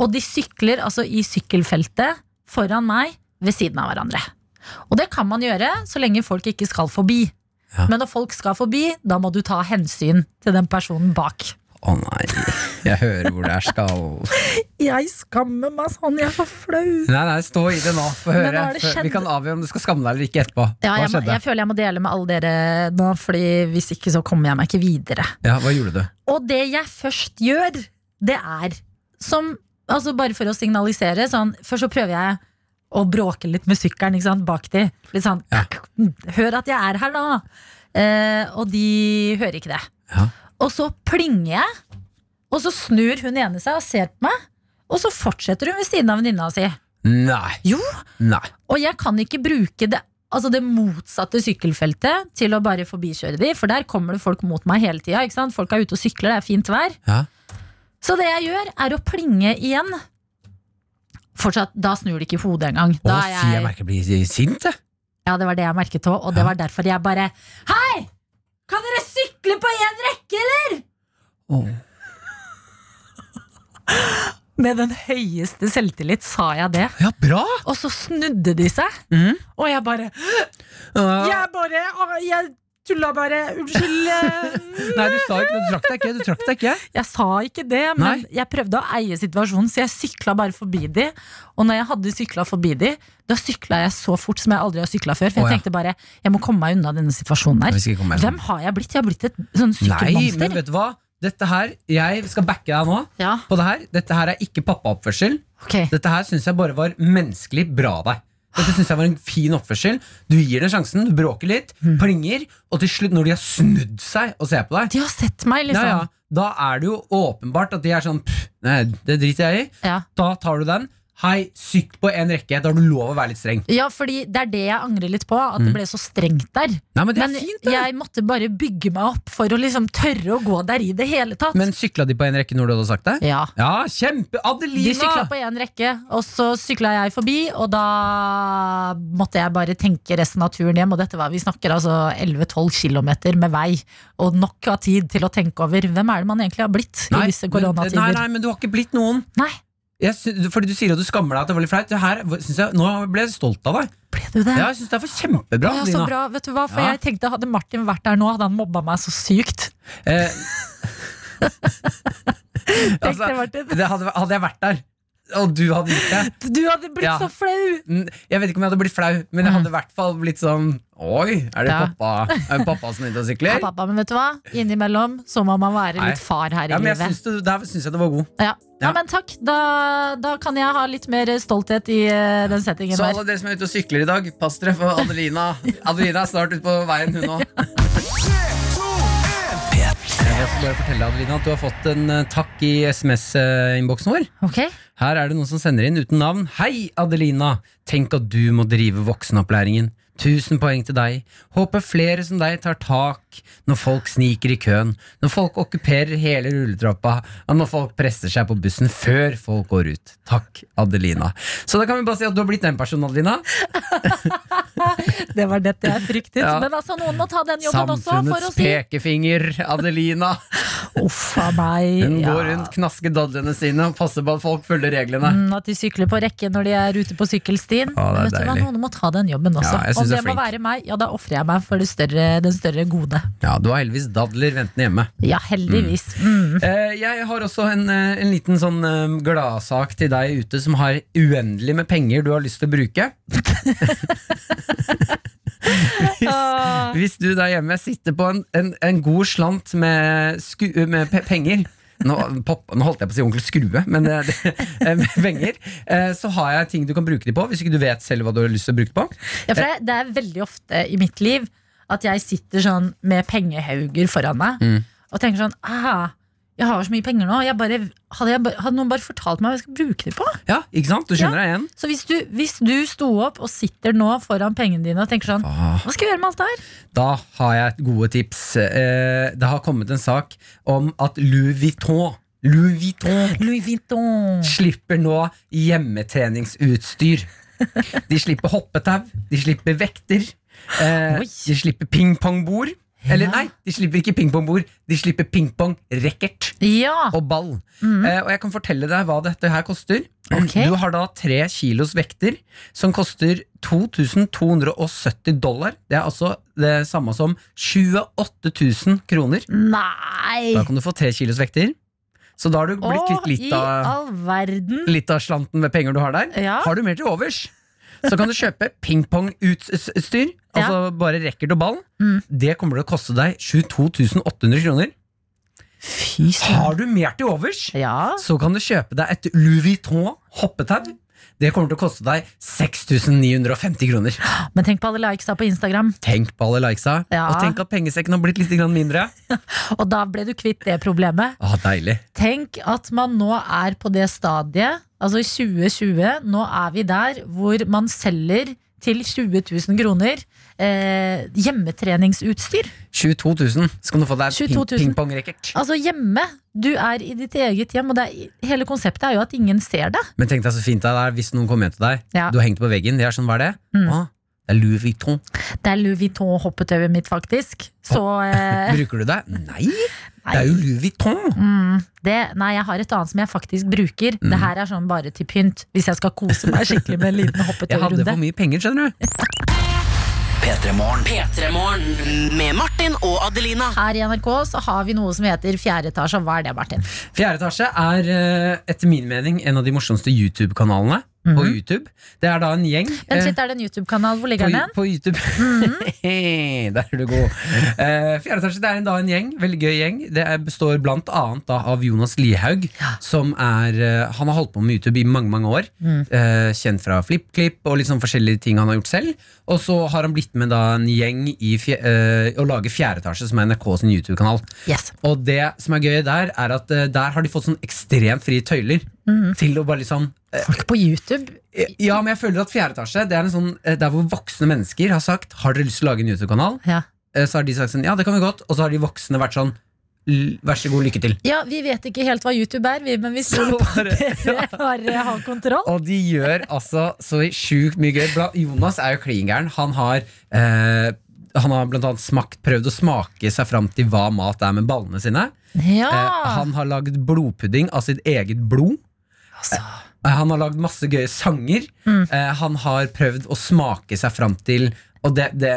Speaker 3: Og de sykler altså i sykkelfeltet foran meg ved siden av hverandre. Og det kan man gjøre så lenge folk ikke skal forbi.
Speaker 4: Ja.
Speaker 3: Men når folk skal forbi, da må du ta hensyn til den personen bak.
Speaker 4: Å nei, jeg hører hvor det er skal
Speaker 3: Jeg skammer meg sånn, jeg er så flau.
Speaker 4: Nei, nei, stå i det nå, få
Speaker 3: Men
Speaker 4: høre.
Speaker 3: hva har det
Speaker 4: Før- Vi
Speaker 3: skjedd?
Speaker 4: kan avgjøre om du skal skamme deg eller ikke etterpå.
Speaker 3: Ja,
Speaker 4: hva
Speaker 3: jeg, må,
Speaker 4: skjedde?
Speaker 3: jeg føler jeg må dele med alle dere nå, fordi hvis ikke så kommer jeg meg ikke videre.
Speaker 4: Ja, hva gjorde du?
Speaker 3: Og det jeg først gjør, det er som Altså bare for å signalisere sånn, Først så prøver jeg å bråke litt med sykkelen ikke sant, bak de. Litt sånn
Speaker 4: Ja.
Speaker 3: [laughs] Hør at jeg er her, da! Eh, og de hører ikke det.
Speaker 4: Ja.
Speaker 3: Og så plinger jeg, og så snur hun ene seg og ser på meg. Og så fortsetter hun ved siden av venninna si.
Speaker 4: Nei,
Speaker 3: Jo,
Speaker 4: nei.
Speaker 3: og jeg kan ikke bruke det, altså det motsatte sykkelfeltet til å bare forbikjøre de, for der kommer det folk mot meg hele tida. ikke sant? Folk er ute og sykler, det er fint vær.
Speaker 4: Ja.
Speaker 3: Så det jeg gjør, er å plinge igjen. Fortsatt, Da snur de ikke hodet engang.
Speaker 4: Å,
Speaker 3: Da er
Speaker 4: fy, jeg merker jeg blir sint, jeg.
Speaker 3: ja, det var det jeg merket òg, og det var derfor jeg bare Hei! Kan dere sykle på én rekke, eller?
Speaker 4: Å.
Speaker 3: Med den høyeste selvtillit sa jeg det.
Speaker 4: Ja, bra!
Speaker 3: Og så snudde de seg, og jeg bare
Speaker 4: Mm. Ja.
Speaker 3: Jeg bare å, Jeg tulla bare. Unnskyld.
Speaker 4: [laughs]
Speaker 3: eh,
Speaker 4: Nei, du sa ikke det. Du trakk deg ikke. Du trakk deg
Speaker 3: [laughs]
Speaker 4: ikke.
Speaker 3: Jeg sa ikke det, men
Speaker 4: Nei.
Speaker 3: jeg prøvde å eie situasjonen, så jeg sykla bare forbi de. Og når jeg hadde sykla forbi de, da sykla jeg så fort som jeg aldri har sykla før. For jeg
Speaker 4: Å, ja.
Speaker 3: tenkte bare jeg må komme meg unna denne situasjonen
Speaker 4: Nei,
Speaker 3: her.
Speaker 4: vi skal ikke komme her.
Speaker 3: Hvem har jeg blitt? Jeg har blitt et sånn
Speaker 4: Nei, men
Speaker 3: sykkelmonster.
Speaker 4: vet du hva? Dette her, Jeg skal backe deg nå.
Speaker 3: Ja,
Speaker 4: På det her. Dette her er ikke pappaoppførsel.
Speaker 3: ok.
Speaker 4: Dette her syns jeg bare var menneskelig bra av deg. Dette synes jeg var en fin oppførsel Du gir den sjansen, du bråker litt,
Speaker 3: Hmm.
Speaker 4: plinger, og til slutt, når de har snudd seg og ser på deg,
Speaker 3: De har sett meg,
Speaker 4: ja,
Speaker 3: liksom.
Speaker 4: ja, da er det jo åpenbart at de er sånn «Pff, Nei, det driter jeg i.
Speaker 3: Ja.
Speaker 4: Da tar du den. Hei, sykt på én rekke. Da har du lov å være litt streng.
Speaker 3: Ja, fordi det er det jeg angrer litt på, at det ble så strengt der.
Speaker 4: Nei, Men Mm. det
Speaker 3: Men
Speaker 4: er fint det.
Speaker 3: jeg måtte bare bygge meg opp for å liksom tørre å gå der i det hele tatt.
Speaker 4: Men sykla de på én rekke når du hadde sagt det?
Speaker 3: ja.
Speaker 4: Ja, kjempe! Adelina!
Speaker 3: De sykla på én rekke, og så sykla jeg forbi, og da måtte jeg bare tenke resten av turen hjem. Og dette var, vi snakker altså 11-12 km med vei, og nok av tid til å tenke over hvem er det man egentlig har blitt
Speaker 4: Nei,
Speaker 3: i disse
Speaker 4: men- Nei,
Speaker 3: koronatider.
Speaker 4: nei, men du har ikke blitt noen.
Speaker 3: Nei,
Speaker 4: Jeg sy- fordi du sier at du skammer deg at det var litt flaut. Det Her, synes jeg, nå ble jeg stolt av deg.
Speaker 3: ble du det?
Speaker 4: Ja, jeg syns det er for kjempebra,
Speaker 3: Ja, så
Speaker 4: Lina.
Speaker 3: bra, vet du hva, for
Speaker 4: Ja.
Speaker 3: jeg tenkte Hadde Martin vært der nå, hadde han mobba meg så sykt. [laughs]
Speaker 4: Eh,
Speaker 3: Tenk
Speaker 4: altså,
Speaker 3: det, Martin.
Speaker 4: det hadde, hadde jeg vært der, og du hadde gjort det
Speaker 3: Du hadde blitt
Speaker 4: Ja.
Speaker 3: så flau!
Speaker 4: Mm, Jeg vet ikke om jeg hadde blitt flau, men
Speaker 3: Mm.
Speaker 4: jeg hadde i hvert fall blitt sånn Oi, er det
Speaker 3: Ja.
Speaker 4: pappa, er det pappa som er ute
Speaker 3: [laughs]
Speaker 4: og
Speaker 3: Ja,
Speaker 4: sykler?
Speaker 3: pappa, men vet du hva? Innimellom så må man være
Speaker 4: Nei.
Speaker 3: litt far her i
Speaker 4: Ja, men jeg
Speaker 3: livet.
Speaker 4: syns du- Der syns jeg det var god.
Speaker 3: Ja.
Speaker 4: Ja.
Speaker 3: ja, men takk. Da, da kan jeg ha litt mer stolthet i eh, den settingen
Speaker 4: Så
Speaker 3: der.
Speaker 4: alle dere som er ute og sykler i dag, pass dere for
Speaker 3: [laughs]
Speaker 4: Adelina. Adelina er snart ute på veien, hun òg. Jeg vil også bare fortelle Adelina at du har fått en eh, takk i SMS-innboksen eh, vår.
Speaker 3: Ok,
Speaker 4: Her er det noen som sender inn uten navn. Hei, Adelina! Tenk at du må drive voksenopplæringen. Tusen poeng til deg. Håper flere som deg tar tak når folk sniker i køen, når folk okkuperer hele rulletrappa, og når folk presser seg på bussen før folk går ut. Takk, Adelina. Så da kan vi bare si at du har blitt den personen, Adelina.
Speaker 3: Det var dette jeg fryktet.
Speaker 4: Ja.
Speaker 3: Men altså, noen må ta den jobben også, for å
Speaker 4: Samfunnets
Speaker 3: si
Speaker 4: pekefinger, Adelina.
Speaker 3: uff a meg.
Speaker 4: Hun
Speaker 3: [laughs] ja.
Speaker 4: går rundt, knasker dadlene sine og passer på at folk følger reglene.
Speaker 3: Mm, At de sykler på rekke når de er ute på sykkelstien.
Speaker 4: Ja,
Speaker 3: Men
Speaker 4: det er
Speaker 3: vet du hva,
Speaker 4: deilig.
Speaker 3: Noen må ta den jobben også.
Speaker 4: Ja, jeg
Speaker 3: Om
Speaker 4: synes du er
Speaker 3: det må
Speaker 4: flink.
Speaker 3: være meg, ja, da ofrer jeg meg for det større, den større gode.
Speaker 4: Ja, du har heldigvis dadler ventende hjemme.
Speaker 3: Ja, heldigvis. Mm.
Speaker 4: Eh, jeg har også en, eh, en liten sånn eh, gladsak til deg ute som har uendelig med penger du har lyst til å bruke. [laughs] hvis, hvis du der hjemme sitter på en, en, en god slant med, sku, med pe penger nå, pop, nå holdt jeg på å si onkel Skrue, men eh, det, eh, med penger. Eh, så har jeg ting du kan bruke de på, hvis ikke du vet selv hva du har lyst til å bruke på.
Speaker 3: Ja, for det, det er veldig ofte i mitt liv at jeg sitter sånn med pengehauger foran meg
Speaker 4: Mm.
Speaker 3: og tenker sånn ah, Jeg har så mye penger nå. Jeg bare, hadde, jeg, bare- hadde noen bare fortalt meg hva jeg skal bruke det på?
Speaker 4: Ja, ikke sant? Du
Speaker 3: Ja.
Speaker 4: kjenner deg igjen?
Speaker 3: Så hvis du, hvis du sto opp og sitter nå foran pengene dine og tenker sånn Hva skal jeg gjøre med alt det her?
Speaker 4: Da har jeg gode tips. Eh, det har kommet en sak om at Louis Vuitton Louis Vuitton
Speaker 3: Louis Vuitton.
Speaker 4: slipper nå hjemmetreningsutstyr. De slipper hoppetau, de slipper vekter, eh,
Speaker 3: Oi.
Speaker 4: de slipper pingpongbord. Eller nei, de slipper ikke pingpongbord, de slipper pingpongracket
Speaker 3: Ja.
Speaker 4: og ball. Eh, og jeg kan fortelle deg hva dette her koster.
Speaker 3: Mhm. Ok.
Speaker 4: Du har da tre kilos vekter som koster 2270 dollar. Det er altså det samme som 28 000 kroner.
Speaker 3: Nei!
Speaker 4: Da kan du få tre kilos vekter. Så da har du blitt
Speaker 3: Å,
Speaker 4: kvitt litt
Speaker 3: i
Speaker 4: av,
Speaker 3: all verden.
Speaker 4: litt av slanten med penger du har der.
Speaker 3: Ja.
Speaker 4: Har du mer til overs, så kan du kjøpe pingpongutstyr. Altså bare racket og ball.
Speaker 3: Mm.
Speaker 4: Det kommer til å koste deg 22 800 kroner.
Speaker 3: Fy søren.
Speaker 4: Har du mer til overs?
Speaker 3: Ja.
Speaker 4: Så kan du kjøpe deg et Louis Vuitton hoppetau. Det kommer til å koste deg 6950 kroner.
Speaker 3: Men tenk på alle likes da på Instagram.
Speaker 4: Tenk på alle likesa,
Speaker 3: Ja.
Speaker 4: og tenk at pengesekken har blitt litt grann mindre.
Speaker 3: Og da ble du kvitt det problemet.
Speaker 4: Ah, deilig.
Speaker 3: Tenk at man nå er på det stadiet, altså i 2020, nå er vi der hvor man selger til 20 000 kroner eh, hjemmetreningsutstyr.
Speaker 4: 22 000 skal du få deg
Speaker 3: 22 000.
Speaker 4: ping pong-racket.
Speaker 3: Altså hjemme. Du er i ditt eget hjem, og det er, hele konseptet er jo at ingen ser deg.
Speaker 4: Men tenk deg så fint det er hvis noen kommer hjem til deg.
Speaker 3: Ja. Mm.
Speaker 4: Du har hengt det på veggen. Det er sånn, hva er det? Ah, det er Louis Vuitton.
Speaker 3: Det er Louis Vuitton-hoppetauet mitt, faktisk. Så eh,
Speaker 4: Bruker du det? Nei, det
Speaker 3: nei.
Speaker 4: er jo Louis Vuitton!
Speaker 3: Mm, det, nei, jeg har et annet som jeg faktisk bruker.
Speaker 4: Mm.
Speaker 3: Det her er sånn bare til pynt, hvis jeg skal kose meg skikkelig med en liten
Speaker 4: [laughs] Jeg hadde
Speaker 3: hoppetøyrunde.
Speaker 4: for mye penger, skjønner du.
Speaker 2: P3morgen. Med Martin og Adelina.
Speaker 3: Her i NRK så har vi noe som heter Fjerde etasje. Hva er det, Martin?
Speaker 4: Fjerde etasje er eh, etter min mening en av de morsomste YouTube-kanalene
Speaker 3: Mhm.
Speaker 4: på YouTube. Det er da en gjeng
Speaker 3: Vent
Speaker 4: eh,
Speaker 3: litt, er det en YouTube-kanal? Hvor ligger
Speaker 4: på,
Speaker 3: den?
Speaker 4: på YouTube. [laughs] Der er du god. Eh, fjerde etasje det er en, da en gjeng, veldig gøy gjeng. Det er, består blant annet da, av Jonas Lihaug, som er eh, Han har holdt på med YouTube i mange, mange år. Eh, kjent fra FlippKlipp og litt sånn forskjellige ting han har gjort selv. Og så har han blitt med da en gjeng i fje, eh, å lage Fjerde etasje, som er NRK sin YouTube-kanal.
Speaker 3: Yes.
Speaker 4: Og det som er gøy der, er at eh, der har de fått sånn ekstremt frie tøyler til å bare liksom eh,
Speaker 3: Folk på YouTube?
Speaker 4: Ja, men jeg føler at fjerde etasje Det er en sånn, eh, der hvor voksne mennesker har sagt Har dere lyst til å lage en YouTube-kanal?
Speaker 3: Ja.
Speaker 4: Eh, Så har de sagt sånn, ja det kan vi godt Og så har de voksne vært sånn "L- Vær så god, lykke til
Speaker 3: Ja, vi vet ikke helt hva YouTube er, vi, men vi stoler på at
Speaker 4: [laughs]
Speaker 3: dere [laughs] bare har kontroll.
Speaker 4: Og de gjør altså så sjukt mye gøy. Bla- Jonas er jo klingeren. Han har eh, han har blant annet smakt, prøvd å smake seg fram til hva mat er med ballene sine.
Speaker 3: Ja.
Speaker 4: Eh, han har lagd blodpudding av sitt eget blod.
Speaker 3: Altså.
Speaker 4: Eh, han har lagd masse gøye sanger. Eh, han har prøvd å smake seg fram til og det, det,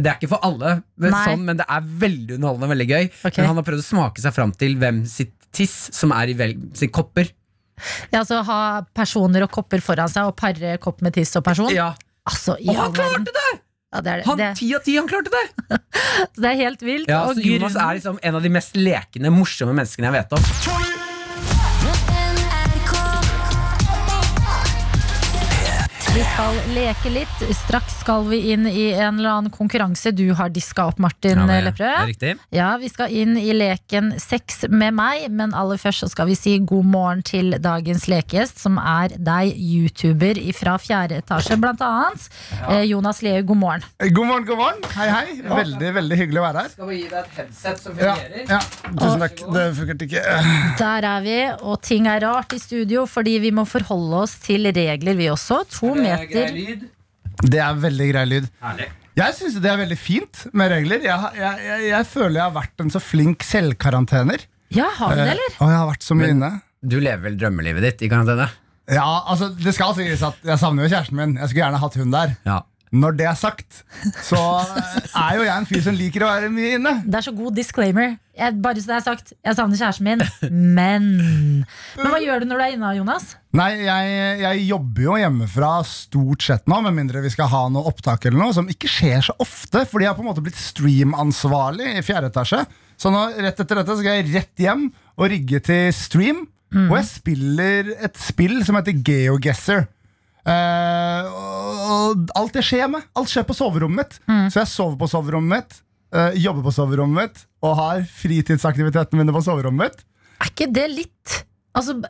Speaker 4: det er ikke for alle, men,
Speaker 3: Nei.
Speaker 4: sånn, men det er veldig underholdende og veldig gøy.
Speaker 3: Ok.
Speaker 4: Men han har prøvd å smake seg fram til hvem sitt tiss som er i vel, sitt kopper.
Speaker 3: Ja, altså ha personer og kopper foran seg og pare kopp med tiss og person.
Speaker 4: Ja.
Speaker 3: Altså, i
Speaker 4: Og
Speaker 3: all
Speaker 4: han
Speaker 3: verden.
Speaker 4: klarte det!
Speaker 3: Ja, det, er,
Speaker 4: Han,
Speaker 3: det,
Speaker 4: ti av ti, han klarte det!
Speaker 3: det er helt vilt.
Speaker 4: [laughs] Ja,
Speaker 3: og
Speaker 4: så Jonas
Speaker 3: grunnen-
Speaker 4: er liksom en av de mest lekende, morsomme menneskene jeg vet om.
Speaker 3: Vi skal leke litt. Straks skal vi inn i en eller annen konkurranse du har diska opp, Martin Lepperød.
Speaker 4: riktig.
Speaker 3: Ja, vi skal inn i leken Sex med meg, men aller først så skal vi si god morgen til dagens lekegjest, som er deg, YouTuber fra fjerde etasje, blant annet. Eh, Jonas Leu, god morgen.
Speaker 8: God morgen, god morgen. Hei, hei. Veldig veldig hyggelig å være her.
Speaker 4: Skal vi gi deg et headset som
Speaker 8: Ja, ja. Tusen takk. Det fungerte ikke.
Speaker 3: Der er vi, og ting er rart i studio fordi vi må forholde oss til regler, vi også. To
Speaker 4: Eh,
Speaker 3: meter.
Speaker 8: Det er veldig grei lyd. Jeg syns det er veldig fint med regler. Jeg, har- jeg, jeg, jeg føler jeg har vært en så flink selvkarantener.
Speaker 3: Ja, har vi det, eller?
Speaker 8: Eh, Og jeg har vært så mye inne.
Speaker 4: Du lever vel drømmelivet ditt i karantene?
Speaker 8: Ja, altså, det skal sies at Jeg savner jo kjæresten min. Jeg skulle gjerne hatt hun der.
Speaker 4: Ja.
Speaker 8: Når det er sagt, så er jo jeg en fyr som liker å være mye inne.
Speaker 3: Det er så god disclaimer. Jeg, bare så det er sagt, jeg savner kjæresten min, men Men hva gjør du når du er inne, Jonas?
Speaker 8: Nei, jeg, jeg jobber jo hjemmefra stort sett nå, med mindre vi skal ha noe opptak eller noe, som ikke skjer så ofte, fordi jeg har på en måte blitt streamansvarlig i fjerde etasje. Så nå, rett etter dette så skal jeg rett hjem og rigge til stream, og jeg spiller et spill som heter GeoGuessr. Eh, og og alt det skjer med. Alt skjer på soverommet mitt. Så jeg sover på soverommet mitt, eh, jobber på soverommet mitt, og har fritidsaktivitetene mine på soverommet mitt.
Speaker 3: Er ikke det litt Altså b-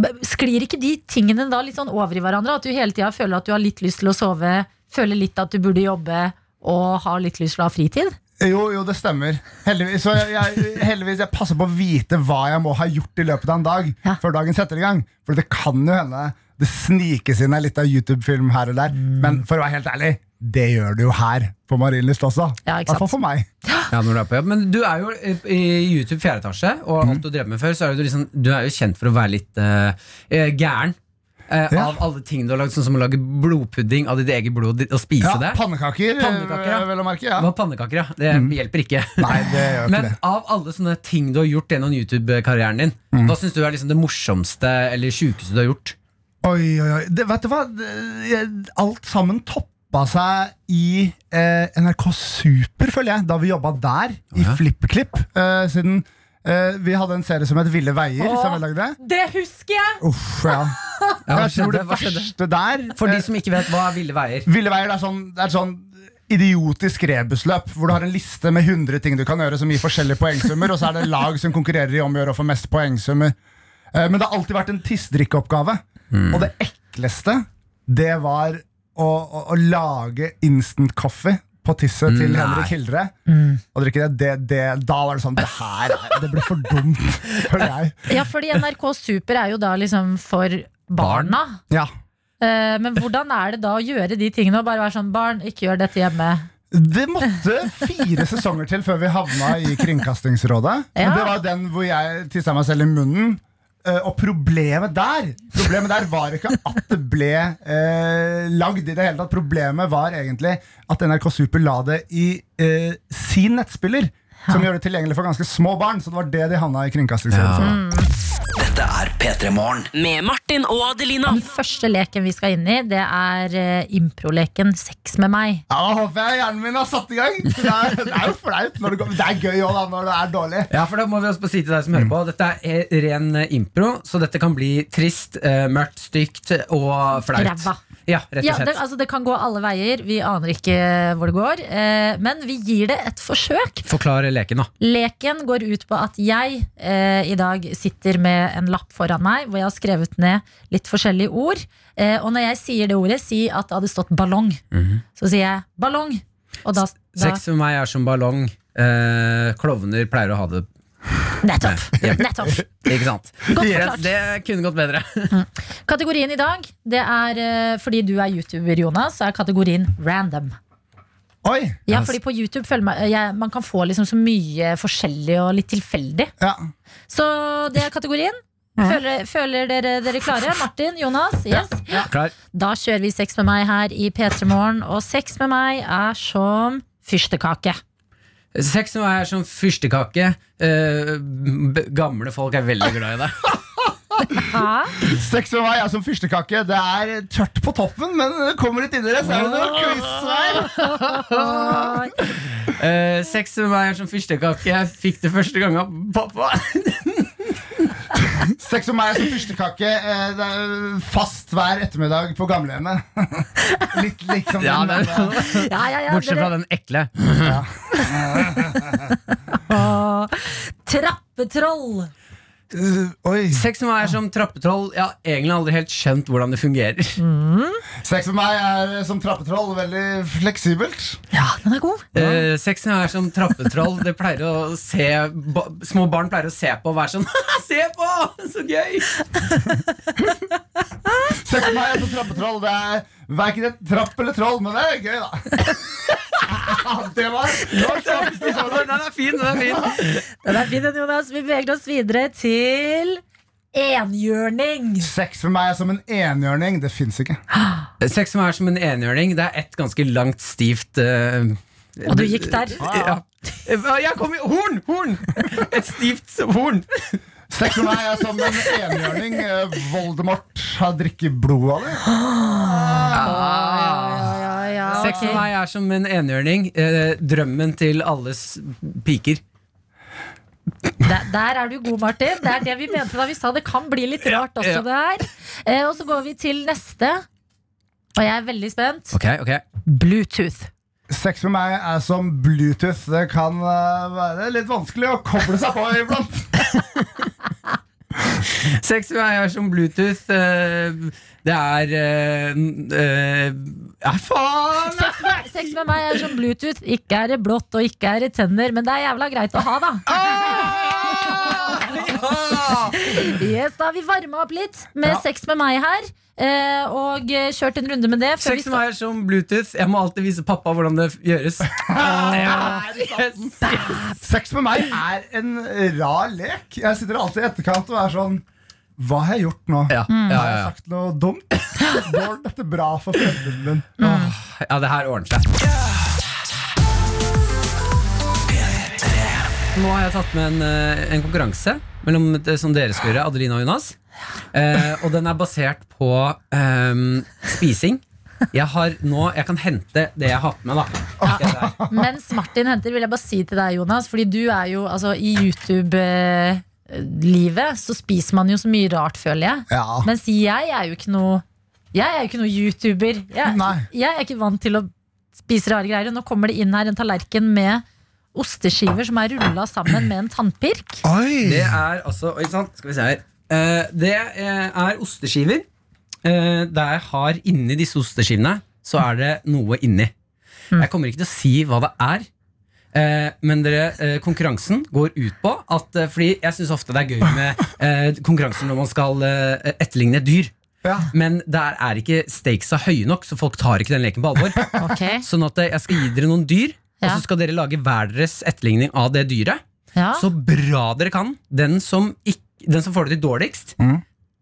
Speaker 3: b- Sklir ikke de tingene da litt sånn over i hverandre? At du hele tida føler at du har litt lyst til å sove, føler litt at du burde jobbe og har litt lyst til å ha fritid?
Speaker 8: Jo, jo, det stemmer. Heldigvis, så jeg, jeg, heldigvis jeg passer på å vite hva jeg må ha gjort i løpet av en dag.
Speaker 3: Ja.
Speaker 8: Før dagen setter i gang For det kan jo hende det snikes inn en liten YouTube-film her og der.
Speaker 3: Mm.
Speaker 8: Men for å være helt ærlig, det gjør det jo her på Marienlyst også.
Speaker 3: Ja,
Speaker 8: I
Speaker 3: ikke sant.
Speaker 8: hvert fall for meg.
Speaker 4: Ja, når du er på jobb. Men du er jo eh, i YouTube fjerde etasje,
Speaker 8: Mhm.
Speaker 4: og alt du drev med før, så er du, liksom, du er jo kjent for å være litt eh, eh, gæren. Eh,
Speaker 8: Ja.
Speaker 4: Av alle ting du har lagd, sånn som å lage blodpudding av ditt eget blod og spise
Speaker 8: Ja,
Speaker 4: det.
Speaker 8: Pannekaker,
Speaker 4: Pannekaker, ja.
Speaker 8: eh, vel å merke. Ja. Mhm.
Speaker 4: Det var pannekaker, ja. Det hjelper ikke.
Speaker 8: Nei,
Speaker 4: [laughs]
Speaker 8: det gjør ikke
Speaker 4: Men
Speaker 8: det.
Speaker 4: av alle sånne ting du har gjort gjennom YouTube-karrieren din,
Speaker 8: Mhm.
Speaker 4: hva syns du er liksom det morsomste eller sjukeste du har gjort?
Speaker 8: Oi, oi, oi. Det, vet du hva? Det, jeg- alt sammen toppa seg i eh, NRK Super, føler jeg, da vi jobba der, i
Speaker 4: ja.
Speaker 8: FlippKlipp. Eh, siden eh, vi hadde en serie som het Ville veier, som jeg lagde.
Speaker 3: Det husker jeg!
Speaker 8: Uff, ja.
Speaker 4: Ja, hva
Speaker 8: Jeg tror
Speaker 4: skjedde?
Speaker 8: det
Speaker 4: Hva skjedde?
Speaker 8: verste der
Speaker 4: For de
Speaker 8: eh,
Speaker 4: som ikke vet hva er ville veier.
Speaker 8: Ville veier det er sånn, det er et sånn idiotisk rebusløp, hvor du har en liste med 100 ting du kan gjøre som gir forskjellige poengsummer, og så er det lag som konkurrerer i om å gjøre å få mest poengsummer. Eh, Men det har alltid vært en tissdrikkeoppgave. Og det ekleste, det var å, å, å lage instant coffee på tisset til
Speaker 4: Nei.
Speaker 8: Henrik Hildre. Og drikke det, det, det Da var det sånn Det her er- det ble for dumt, føler jeg.
Speaker 3: Ja, fordi NRK Super er jo da liksom for barna.
Speaker 8: Ja.
Speaker 3: Eh, Men hvordan er det da å gjøre de tingene og bare være sånn Barn, ikke gjør dette hjemme.
Speaker 8: Det måtte fire sesonger til før vi havna i Kringkastingsrådet.
Speaker 3: Ja.
Speaker 8: Men det var den hvor jeg tissa meg selv i munnen. Eh, og problemet der Problemet der var ikke at det ble eh, lagd i det hele tatt. Problemet var egentlig at NRK Super la det i eh, sin nettspiller, som gjør det tilgjengelig for ganske små barn. Så det var det de havna i kringkastingsrevisjonen.
Speaker 2: Dette er P3 Morgen. Med Martin og Adelina.
Speaker 3: Den første leken vi skal inn i, det er eh, improleken Sex med meg.
Speaker 8: Ja, håper jeg hjernen min har satt i gang! Det er, det er jo flaut. Når det, går, det er gøy òg, da, når det er dårlig.
Speaker 4: Ja, for da må vi også bare si til deg som hører på Dette er ren eh, impro, så dette kan bli trist, eh, mørkt, stygt og flaut.
Speaker 3: Ræva.
Speaker 4: Ja, rett
Speaker 3: Ja,
Speaker 4: og
Speaker 3: det,
Speaker 4: slett.
Speaker 3: altså, det kan gå alle veier. Vi aner ikke hvor det går. Eh, men vi gir det et forsøk.
Speaker 4: Forklar leken, da.
Speaker 3: Leken går ut på at jeg eh, i dag sitter med en lapp foran meg hvor jeg har skrevet ned litt forskjellige ord. Eh, og når jeg sier det ordet, si at det hadde stått ballong. Så sier jeg ballong. Og da, da
Speaker 4: Sex med meg er som ballong. Eh, klovner pleier å ha
Speaker 3: [laughs]
Speaker 4: det
Speaker 3: Nettopp.
Speaker 4: Ja.
Speaker 3: Nettopp.
Speaker 4: Ikke sant?
Speaker 3: Godt
Speaker 4: Yes,
Speaker 3: forklart.
Speaker 4: det kunne gått bedre.
Speaker 3: Kategorien i dag, det er eh, fordi du er YouTuber, Jonas, så er kategorien random.
Speaker 8: Oi!
Speaker 3: Ja, fordi på YouTube føler man, eh, jeg, man kan få liksom så mye forskjellig og litt tilfeldig. Så det er [laughs] kategorien. Føler, føler dere dere klare? [laughs] Martin? Jonas? Yes?
Speaker 4: [laughs] Klar.
Speaker 3: Da kjører vi Sex med meg her i P3 Morgen, og Sex med meg er som fyrstekake.
Speaker 4: Sex med meg er som fyrstekake. Eh, b- gamle folk er veldig glad
Speaker 3: [laughs]
Speaker 4: i det.
Speaker 8: Sex med meg er som fyrstekake. Det er tørt på toppen, men det kommer litt inni det. Så er det noe quiz her.
Speaker 4: Eh, sex med meg er som fyrstekake. Jeg fikk det første gang av pappa.
Speaker 3: [laughs]
Speaker 4: [laughs]
Speaker 8: Sex med meg er som fyrstekake. eh, Det er fast hver ettermiddag på gamlehjemmet. [laughs] Litt liksom den,
Speaker 4: Ja, det-
Speaker 8: eh,
Speaker 3: Ja, ja, ja,
Speaker 4: Bortsett fra
Speaker 3: dere-
Speaker 4: den ekle.
Speaker 3: Åh, Trappetroll!
Speaker 4: Sex med meg er som trappetroll. Jeg har egentlig aldri helt skjønt hvordan det fungerer.
Speaker 8: Sex med meg er eh, som trappetroll. Veldig fleksibelt.
Speaker 3: Ja, den er god.
Speaker 4: Eh, sex med meg er som trappetroll. Det pleier å se ba, Små barn pleier å se på og være sånn [laughs] Se på! Så gøy!
Speaker 8: Sex med meg er som trappetroll. Det er verken et trapp eller troll, men det er gøy, da. [laughs] Det var, det var faktisk ikke sånn.
Speaker 4: Den er fin, den er fin.
Speaker 3: Den er fin, den, Jonas. Vi beveger oss videre til enhjørning.
Speaker 8: Sex med meg er som en enhjørning. Det fins ikke.
Speaker 4: Sex med meg er som en enhjørning. Det er et ganske langt, stivt eh,
Speaker 3: Og du gikk der.
Speaker 4: Ja. Ah. Jeg kom i Horn! Horn! Et stivt horn.
Speaker 8: Sex med meg er som en enhjørning. eh, Voldemort har drukket blodet av det.
Speaker 3: Ja, ja,
Speaker 4: Sex med
Speaker 3: ok.
Speaker 4: meg er som en enhjørning. Eh, drømmen til alles piker.
Speaker 3: Der, der er du god, Martin. Det er det vi mente da vi sa det kan bli litt rart også,
Speaker 4: Ja, ja.
Speaker 3: det her. Eh, og så går vi til neste. Og jeg er veldig spent.
Speaker 4: Ok, ok
Speaker 3: Bluetooth.
Speaker 8: Sex med meg er som Bluetooth. Det kan eh, være litt vanskelig å koble seg på iblant.
Speaker 4: Sex med meg er som Bluetooth. eh, Det er eh, n- eh, Ja, faen!
Speaker 3: Sex med, sex med meg er som Bluetooth. Ikke er det blått og ikke er det tenner, men det er jævla greit å ha, da.
Speaker 4: Ah! Ja!
Speaker 3: Yes, da har vi varma opp litt med
Speaker 4: Ja.
Speaker 3: Sex med meg her. eh, Og eh, kjørt en runde med det. før vi
Speaker 4: Sex med meg er som Bluetooth. Jeg må alltid vise pappa hvordan det gjøres. Yes.
Speaker 8: Sex med meg er en rar lek. Jeg sitter alltid i etterkant og er sånn Hva har jeg gjort nå?
Speaker 4: Ja, ja,
Speaker 8: Har jeg
Speaker 4: ja,
Speaker 8: sagt noe dumt? Går dette bra for fremtiden min?
Speaker 4: ja. ja, det her ordner seg. Nå har jeg tatt med en, eh, en konkurranse mellom, det som dere skal gjøre, Adelina og Jonas. Eh, og den er basert på ehm, spising. Jeg har nå, jeg kan hente det jeg har hatt med. da Ok, der.
Speaker 3: Mens Martin henter, vil jeg bare si til deg, Jonas, fordi du er jo altså, i YouTube-livet, så spiser man jo så mye rart, føler jeg.
Speaker 8: Ja.
Speaker 3: Mens jeg er jo ikke noe Jeg er jo ikke noe YouTuber. Jeg,
Speaker 8: Nei.
Speaker 3: jeg er ikke vant til å spise rare greier. Og nå kommer det inn her en tallerken med osteskiver som er rulla sammen med en tannpirk.
Speaker 4: Det er altså Oi sann, skal vi se her. Eh, det eh, er osteskiver. Eh, der jeg har inni disse osteskivene, så er det noe inni. Jeg kommer ikke til å si hva det er. Eh, men dere, eh, konkurransen går ut på at eh, Fordi jeg syns ofte det er gøy med eh, konkurranser når man skal eh, etterligne et dyr.
Speaker 8: Ja.
Speaker 4: Men der er ikke stakesa høye nok, så folk tar ikke den leken på alvor.
Speaker 3: Ok.
Speaker 4: Sånn at eh, jeg skal gi dere noen dyr, og
Speaker 3: Ja.
Speaker 4: så
Speaker 3: Ah.
Speaker 4: skal dere lage hver deres etterligning av det dyret.
Speaker 3: Ja.
Speaker 4: Så bra dere kan. Den som ikke den som får det til dårligst,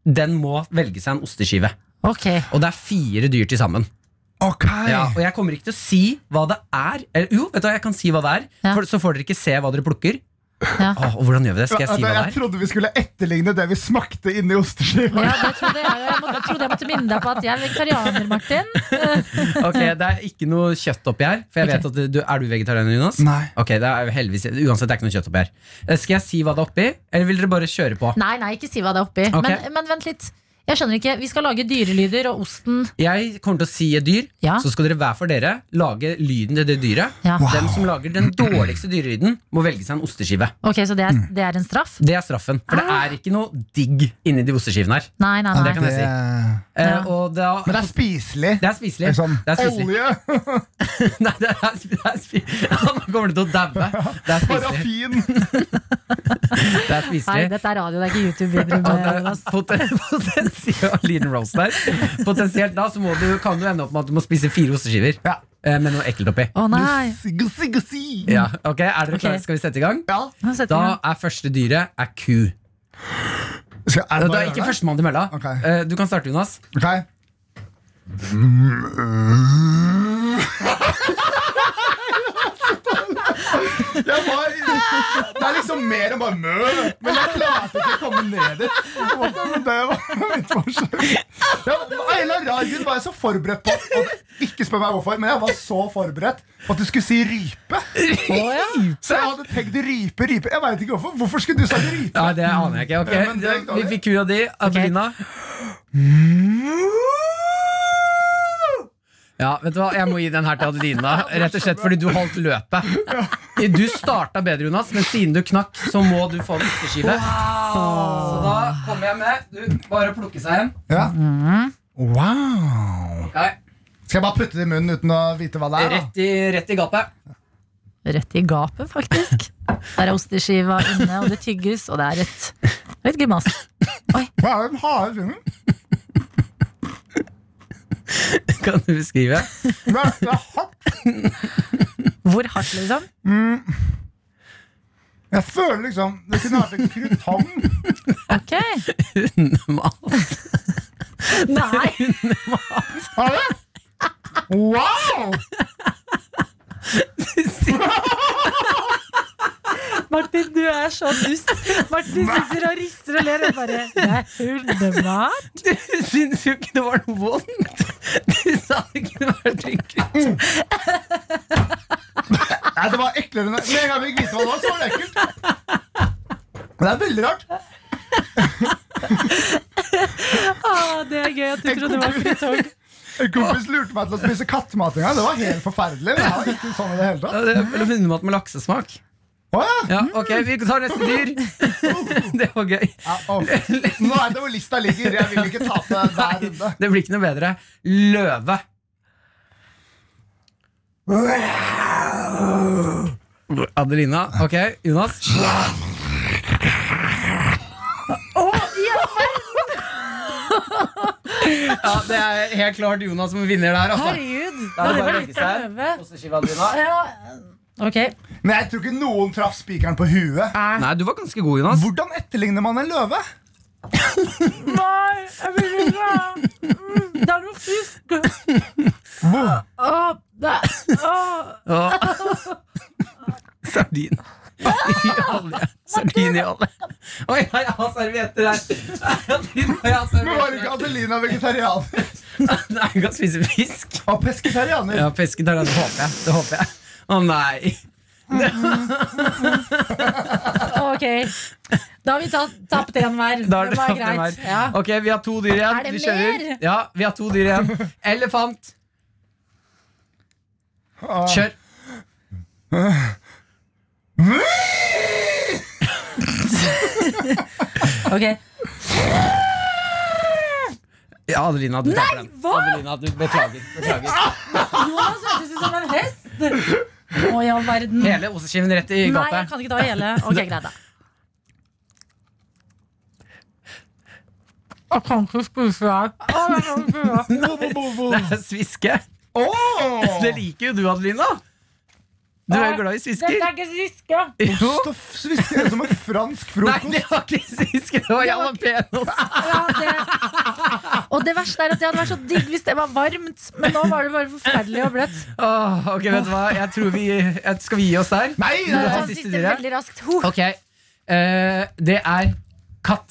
Speaker 4: den må velge seg en osteskive. Og det er fire dyr til sammen. Ja, og jeg kommer ikke til å si hva det er. Eller, jo, vet du hva, jeg kan si hva det er, for, så får dere ikke se hva dere plukker. Åh, og hvordan gjør vi det? Skal jeg si hva det
Speaker 8: jeg
Speaker 4: er?
Speaker 8: trodde vi skulle etterligne det vi smakte inni osteskiva.
Speaker 3: Ja, det trodde jeg, jo. jeg, måtte, jeg trodde jeg måtte minne deg på at jeg er vegetarianer, Martin.
Speaker 4: Ok, Det er ikke noe kjøtt oppi her. For jeg vet at du, Er du vegetarianer, Jonas? Nei Ok, det er heldigvis Uansett, det er ikke noe kjøtt oppi her. Eh, Skal jeg si hva det er oppi, eller vil dere bare kjøre på?
Speaker 3: Nei, nei, ikke si hva det er oppi.
Speaker 4: Ok.
Speaker 3: Men, men vent litt. Jeg skjønner ikke. Vi skal lage dyrelyder, og osten
Speaker 4: Jeg kommer til å si et dyr, så skal dere hver for dere lage lyden til det dyret.
Speaker 3: Ja. Wow.
Speaker 4: Den som lager den dårligste dyrelyden, må velge seg en osteskive.
Speaker 3: Ok, så det er, det er en straff?
Speaker 4: Det er straffen. For det er ikke noe digg inni de osteskivene her.
Speaker 3: Nei, nei, Ah. nei.
Speaker 4: Det kan jeg si. Eh,
Speaker 3: Ja.
Speaker 4: og da,
Speaker 8: Men det er spiselig.
Speaker 4: Det er sånn- spiselig.
Speaker 8: Liksom,
Speaker 4: Det er spiselig.
Speaker 8: Olje!
Speaker 4: [laughs] Nei, det er, sp- det er spi- [laughs] Han kommer til å daue. Det er spiselig.
Speaker 8: Paraffin!
Speaker 4: Det er
Speaker 3: Nei,
Speaker 4: spiselig.
Speaker 3: dette er radio, det er ikke altså- YouTube. vi [laughs] driver
Speaker 4: Og
Speaker 3: med,
Speaker 4: det er
Speaker 3: Jonas.
Speaker 4: poten- [laughs] Potensielt Liten roast der. Potensielt da så må du, kan du ende opp med at du må spise fire osteskiver eh, med noe ekkelt oppi.
Speaker 3: Å nei!
Speaker 8: Gussi, gussi!
Speaker 4: Ja, ok, er dere
Speaker 3: Ok.
Speaker 4: klare? Skal vi sette i gang?
Speaker 3: Nå setter vi
Speaker 4: [laughs] Da
Speaker 3: i gang.
Speaker 4: er første dyret er ku.
Speaker 8: Skal, er det
Speaker 4: da
Speaker 8: bare
Speaker 4: er
Speaker 8: å
Speaker 4: ikke
Speaker 8: gjøre det?
Speaker 4: førstemann til mølla.
Speaker 8: Ok.
Speaker 4: Eh, Du kan starte, Jonas.
Speaker 8: Ok. Jeg var, det er liksom mer enn bare mø, men jeg klarte ikke å komme ned dit. Det var- Det var mitt forsøk. Jeg, av en eller annen rar grunn var jeg så forberedt på og Ikke spør meg hvorfor, men jeg var så forberedt på at du skulle si rype. Så jeg hadde tenkt rype, rype. Jeg vet ikke hvorfor. Hvorfor skulle du sagt rype?
Speaker 4: Ja, det aner jeg ikke. Ok,
Speaker 8: Ja, men det er ikke
Speaker 4: Vi fikk kua di. Adelina. Ja, vet du hva? Jeg må gi den her til Adelina, rett og slett fordi du holdt løpet. Du starta bedre, Jonas, men siden du knakk, så må du få en ytterskive. Så da kommer jeg med. Du, bare plukke seg en.
Speaker 8: Ja. Wow.
Speaker 4: Ok.
Speaker 8: Skal jeg bare putte det i munnen uten å vite hva det er? da?
Speaker 4: Rett i, rett i gapet.
Speaker 3: Rett i gapet, faktisk. Der er osteskiva inne, og det tygges, og det er et, et grimas.
Speaker 8: Hva er den harde fingeren?
Speaker 4: [laughs] Kan du beskrive?
Speaker 8: Det er- det er hardt.
Speaker 3: Hvor hardt, liksom?
Speaker 8: Mm. Jeg føler liksom Det kunne vært en krutong.
Speaker 3: Ok.
Speaker 4: Hundemat.
Speaker 3: [laughs] Nei!
Speaker 4: [laughs]
Speaker 8: Har du det? Wow!
Speaker 3: Martin, du er så dust. Martin sitter og rister og ler og bare Det er hundemat.
Speaker 4: Du syns jo ikke det var noe vondt! Du sa det kunne vært drikkelig.
Speaker 8: Mm. Nei, det var eklere enn Med en gang vi fikk vite hva det var, så var det ekkelt. Men det er veldig rart.
Speaker 3: Ah, det er gøy at du trodde det var fritog.
Speaker 8: En kompis lurte meg til å spise kattemat en gang. Det var helt forferdelig. Det var ikke sånn i det hele
Speaker 4: Ja,
Speaker 8: tatt.
Speaker 4: det er vel Hundemat med laksesmak.
Speaker 8: Å, ja. Mm.
Speaker 4: Ja, ok, vi tar neste dyr. [laughs] Det var gøy.
Speaker 8: Ja, å. Nå vet jeg hvor lista ligger. Jeg vil ikke tape hver runde.
Speaker 4: Det blir ikke noe bedre. Løve. Adelina. Ok, Jonas. Ja, Det er helt klart Jonas som vinner der. Altså.
Speaker 3: Herregud.
Speaker 4: Da er
Speaker 3: Det
Speaker 4: det
Speaker 3: var
Speaker 4: bare å
Speaker 3: litt
Speaker 4: legge seg.
Speaker 3: prøve.
Speaker 4: Osteskive, Adelina.
Speaker 3: Ja. Ok.
Speaker 8: Men jeg tror ikke noen traff spikeren på huet.
Speaker 4: Nei, du var ganske god, Jonas.
Speaker 8: Hvordan etterligner man en løve?
Speaker 3: Nei, jeg vil ikke Mm, Det er noe fisk. Åh, det er åh.
Speaker 4: Åh. Ah. [laughs] Sardin i olje. Sardin i olje. Oi, nei, jeg har servietter her. Adelina, Jeg har
Speaker 8: Men var ikke
Speaker 4: servietter.
Speaker 8: Adelina vegetarianer?
Speaker 4: Nei, hun kan spise fisk.
Speaker 8: Og pesketarianer?
Speaker 4: Ja, pesken tar den, det håper jeg. Det håper jeg. Å nei.
Speaker 3: Ok. Da har vi tatt, tapt én hver.
Speaker 4: Da er
Speaker 3: Det
Speaker 4: det
Speaker 3: var
Speaker 4: tapt den
Speaker 3: greit.
Speaker 4: her.
Speaker 3: Ja.
Speaker 4: Ok, vi har to dyr igjen.
Speaker 3: Er det
Speaker 4: Vi kjører.
Speaker 3: mer?
Speaker 4: Ja, vi har to dyr igjen. Elefant.
Speaker 8: Ah.
Speaker 4: Kjør.
Speaker 3: Ok.
Speaker 4: Ja, Adelina, du taper den.
Speaker 3: hva?
Speaker 4: Adelina, du beklager. beklager.
Speaker 3: Jonas hørtes ut som en hest. Å, i all verden. Nei,
Speaker 4: Hele osteskiven rett i
Speaker 3: jeg
Speaker 4: gapet.
Speaker 3: kan ikke ta hele. Ok, greit, da. Jeg kan ikke spise deg.
Speaker 4: Det er sviske.
Speaker 8: Åh!
Speaker 4: Det liker jo du, Adelina. Du er glad i svisker?
Speaker 3: Dette er ikke sviske.
Speaker 4: Jo.
Speaker 8: Ost og f- svisker er som en fransk frokost.
Speaker 4: Nei, det var ikke svisker, det var jalapeños.
Speaker 3: Og det verste er at det hadde vært så digg hvis det var varmt, men nå var det bare forferdelig og bløtt.
Speaker 4: Åh, ok, vet du hva? Jeg tror vi jeg, Skal vi gi oss der?
Speaker 8: Nei,
Speaker 4: det
Speaker 3: Jeg
Speaker 4: er
Speaker 3: tar den
Speaker 4: siste
Speaker 3: siste
Speaker 4: dere.
Speaker 3: veldig raskt. Ho.
Speaker 4: Ok. eh, det er katt.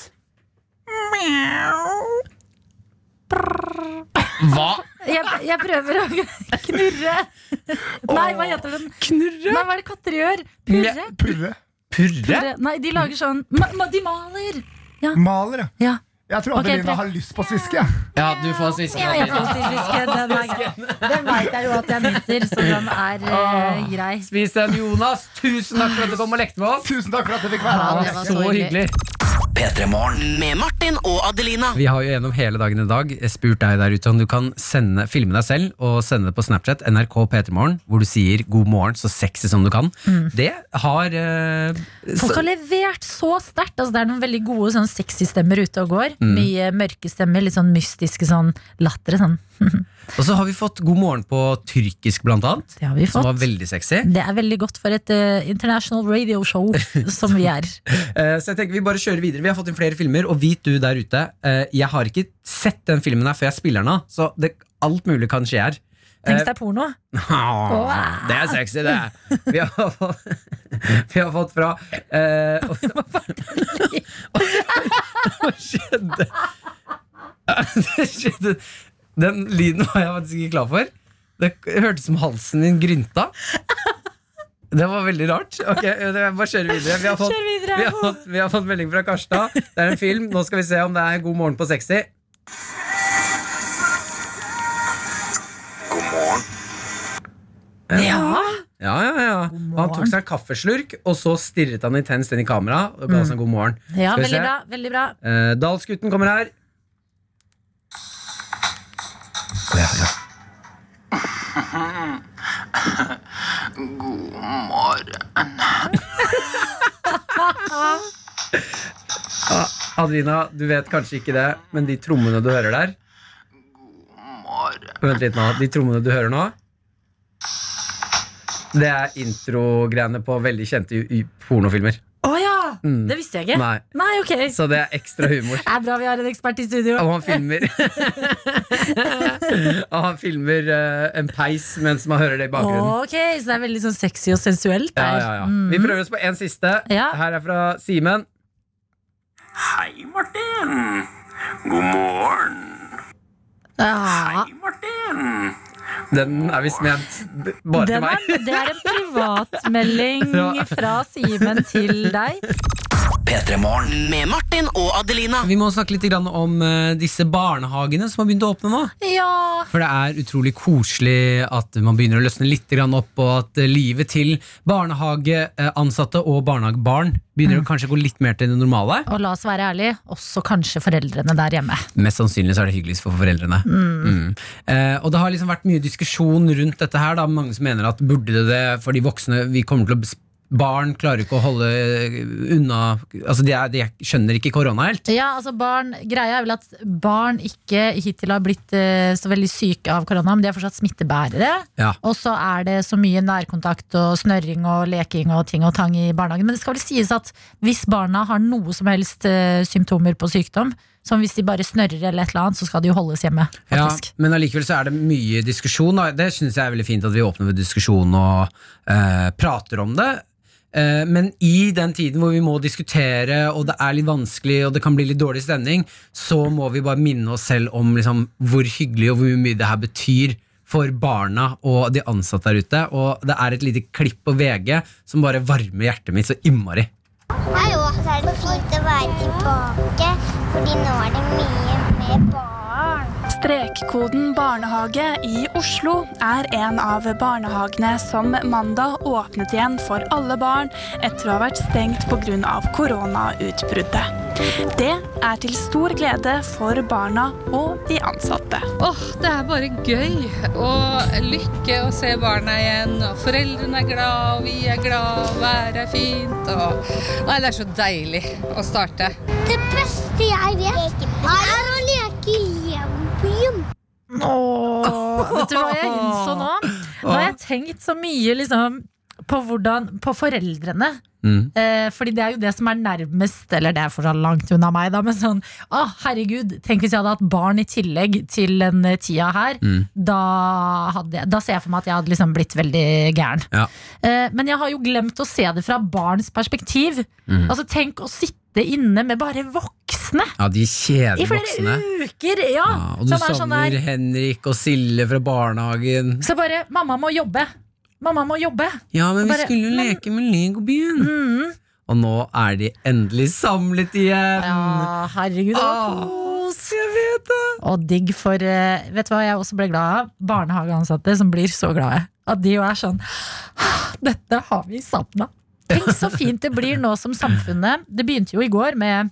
Speaker 4: Hva?
Speaker 3: Jeg, jeg prøver å knurre. Nei, hva heter den?
Speaker 4: Knurre?
Speaker 3: Nei, hva er det katter gjør? Purre?
Speaker 4: Mjau.
Speaker 8: Purre.
Speaker 4: Purre?
Speaker 3: Purre. Nei, de lager sånn ma, ma, De maler!
Speaker 8: Maler,
Speaker 3: Ja.
Speaker 8: Jeg tror
Speaker 3: Ok,
Speaker 8: Adelina
Speaker 3: tre.
Speaker 8: har lyst på sviske. jeg.
Speaker 4: Ja, du får sviske.
Speaker 3: Ja, jeg får sviske. Den, er grei. den veit jeg jo at jeg nyter, så den er eh, grei.
Speaker 4: Spis den, Jonas. Tusen takk for at du kom og lekte med oss.
Speaker 8: Tusen takk for at jeg fikk være
Speaker 4: Det
Speaker 8: her.
Speaker 3: det
Speaker 4: var
Speaker 3: var
Speaker 4: så
Speaker 3: så
Speaker 4: hyggelig.
Speaker 2: Med Martin og Adelina.
Speaker 4: Vi har jo gjennom hele dagen i dag spurt deg der ute om du kan sende, filme deg selv og sende det på Snapchat NRK P3morgen, hvor du sier 'god morgen' så sexy som du kan.
Speaker 3: Mm.
Speaker 4: Det har eh,
Speaker 3: Folk har levert så sterkt. Altså, det er noen veldig gode sånn, sexy stemmer ute og går.
Speaker 4: Mm.
Speaker 3: Mye mørke stemmer, litt sånn mystiske sånn latre. Sånn. [laughs]
Speaker 4: Og så har vi fått 'god morgen' på tyrkisk, blant annet.
Speaker 3: Det har vi
Speaker 4: Som var
Speaker 3: fått.
Speaker 4: veldig sexy.
Speaker 3: Det er veldig godt for et eh, international radio
Speaker 4: [laughs]
Speaker 3: show som vi er.
Speaker 4: Eh, Så jeg tenker Vi bare kjører videre Vi har fått inn flere filmer, og vit du der ute eh, Jeg har ikke sett den filmen her før jeg spiller den av, så det, alt mulig kan skje her.
Speaker 3: Tenk deg porno.
Speaker 4: Eh, Åh, Det er sexy, det! Vi har fått, vi har fått fra eh, [laughs] Hva skjedde? Det skjedde Den lyden var jeg faktisk ikke klar for. Det hørtes som halsen din grynta. Det var veldig rart. Ok, jeg Bare kjører videre. Vi har fått,
Speaker 3: Kjør videre.
Speaker 4: vi har fått, vi har fått melding fra Karstad. Det er en film. Nå skal vi se om det er God morgen på 60.
Speaker 11: God morgen.
Speaker 3: Ja.
Speaker 4: Eh, Ja, ja, ja. Og Han tok seg en kaffeslurk, og så stirret han intenst inn i kamera. Og ga oss en god morgen.
Speaker 3: ja,
Speaker 4: Skal vi se.
Speaker 3: veldig bra. Veldig bra.
Speaker 4: Eh, Dalsgutten kommer her. Ja, ja.
Speaker 12: God morgen.
Speaker 4: Ah, Adelina, du vet kanskje ikke det, men de trommene du hører der
Speaker 12: morgen.
Speaker 4: Vent litt nå, De trommene du hører nå, det er introgreiene på veldig kjente u- u- pornofilmer.
Speaker 3: Å ja!
Speaker 4: Mm.
Speaker 3: Det visste jeg ikke.
Speaker 4: Nei,
Speaker 3: Nei, ok.
Speaker 4: Så det er ekstra humor.
Speaker 3: Det er bra vi har en ekspert i studio.
Speaker 4: Og han
Speaker 3: [laughs]
Speaker 4: filmer Og han filmer eh, en peis mens man hører det i bakgrunnen.
Speaker 3: Ok, Så det er veldig sånn sexy og sensuelt
Speaker 4: Ja,
Speaker 3: der.
Speaker 4: ja, ja.
Speaker 3: Mm.
Speaker 4: Vi prøver oss på en siste.
Speaker 3: Ja.
Speaker 4: Her er fra Simen.
Speaker 11: Hei, Martin. God morgen.
Speaker 3: Ja.
Speaker 11: Hei, Martin.
Speaker 4: Den er visst ment b- bare til
Speaker 3: Den
Speaker 4: meg.
Speaker 3: er, det er en privatmelding
Speaker 4: [laughs] Ja.
Speaker 3: fra Simen til deg.
Speaker 4: [laughs]
Speaker 2: Med Martin og Adelina.
Speaker 4: Vi må snakke litt grann om eh, disse barnehagene som har begynt å åpne nå.
Speaker 3: Ja,
Speaker 4: For det er utrolig koselig at man begynner å løsne litt grann opp, og at eh, livet til barnehageansatte og barnehagebarn begynner å kanskje gå litt mer til det normale.
Speaker 3: Og la oss være ærlige, også kanskje foreldrene der hjemme.
Speaker 4: Mest sannsynlig så er det hyggeligst for foreldrene. Mm. Eh, og det har liksom vært mye diskusjon rundt dette her. Da. Mange som mener at burde det det for de voksne vi kommer til å bes- Barn klarer ikke å holde eh, unna Altså, de, er, de er- skjønner ikke korona helt.
Speaker 3: Ja, altså barn, Greia er vel at barn ikke hittil har blitt eh, så veldig syke av korona, men de er fortsatt smittebærere.
Speaker 4: Ja.
Speaker 3: Og så er det så mye nærkontakt og snørring og leking og ting og tang i barnehagen. Men det skal vel sies at hvis barna har noe som helst eh, symptomer på sykdom, som hvis de bare snørrer eller et eller annet, så skal de jo holdes hjemme, faktisk.
Speaker 4: Ja, men allikevel så er det mye diskusjon. Da. Det syns jeg er veldig fint at vi åpner for diskusjon og eh, prater om det. Eh, men i den tiden hvor vi må diskutere, og det er litt vanskelig, og det kan bli litt dårlig stemning, så må vi bare minne oss selv om liksom, hvor hyggelig og hvor mye det her betyr. For barna og de ansatte der ute. Og det er et lite klipp på VG som bare varmer hjertet mitt så innmari.
Speaker 13: Hei òg. Det er fint å være tilbake, fordi nå er det mye med barn.
Speaker 14: Strekkoden barnehage i Oslo er en av barnehagene som mandag åpnet igjen for alle barn etter å ha vært stengt pga. koronautbruddet. Det er til stor glede for barna og de ansatte.
Speaker 6: Åh, det er bare gøy og lykke å se barna igjen. Og foreldrene er glad, og vi er glad, og været er fint. Og... Nei, det er så deilig å starte.
Speaker 13: Det beste jeg vet, er å leke i Lego-byen.
Speaker 3: Vet du hva jeg innså nå? Nå har jeg tenkt så mye liksom, på, hvordan, på foreldrene.
Speaker 4: Mm.
Speaker 3: Eh, fordi det er jo det som er nærmest Eller det er fortsatt langt unna meg, da, men sånn Å, herregud, tenk hvis jeg hadde hatt barn i tillegg til den eh, tida her.
Speaker 4: Mm.
Speaker 3: Da, hadde jeg, da ser jeg for meg at jeg hadde liksom blitt veldig gæren.
Speaker 4: Ja.
Speaker 3: Eh, men jeg har jo glemt å se det fra barns perspektiv.
Speaker 4: Mm.
Speaker 3: Altså, tenk å sitte inne med bare voksne
Speaker 4: Ja, de
Speaker 3: i
Speaker 4: kjedelige
Speaker 3: flere
Speaker 4: voksne.
Speaker 3: uker! Ja,
Speaker 4: Ja, og du
Speaker 3: som er sånn der-
Speaker 4: savner Henrik og Sille fra barnehagen.
Speaker 3: så bare Mamma må jobbe. Mamma må jobbe.
Speaker 4: Ja,
Speaker 3: Og
Speaker 4: men vi
Speaker 3: bare,
Speaker 4: skulle jo
Speaker 3: men-
Speaker 4: leke med Legobyen.
Speaker 3: Mm.
Speaker 4: Og nå er de endelig samlet igjen!
Speaker 3: Ja, herregud, det var
Speaker 4: Ah.
Speaker 3: kos! Og digg for eh, Vet du hva jeg også ble glad av? Barnehageansatte som blir så glade. At de jo er sånn «Ah, Dette har vi savna. Tenk så fint det blir nå som samfunnet Det begynte jo i går med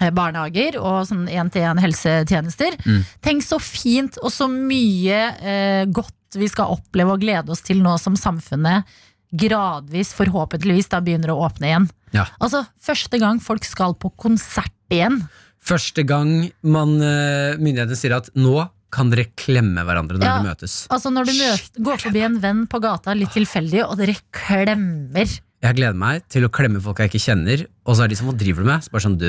Speaker 3: eh, barnehager og sånn én-til-én-helsetjenester.
Speaker 4: Mm.
Speaker 3: Tenk så fint og så mye eh, godt vi skal oppleve og glede oss til nå som samfunnet gradvis, forhåpentligvis, da begynner å åpne igjen.
Speaker 4: Ja.
Speaker 3: Altså, første gang folk skal på konsert igjen.
Speaker 4: Første gang man, eh, myndighetene sier at nå kan dere klemme hverandre når
Speaker 3: Ja,
Speaker 4: dere møtes.
Speaker 3: Altså Når du møter, går forbi en venn på gata litt tilfeldig, og dere klemmer
Speaker 4: Jeg gleder meg til å klemme folk jeg ikke kjenner, og så er de som hva driver du med? Så bare sånn, du,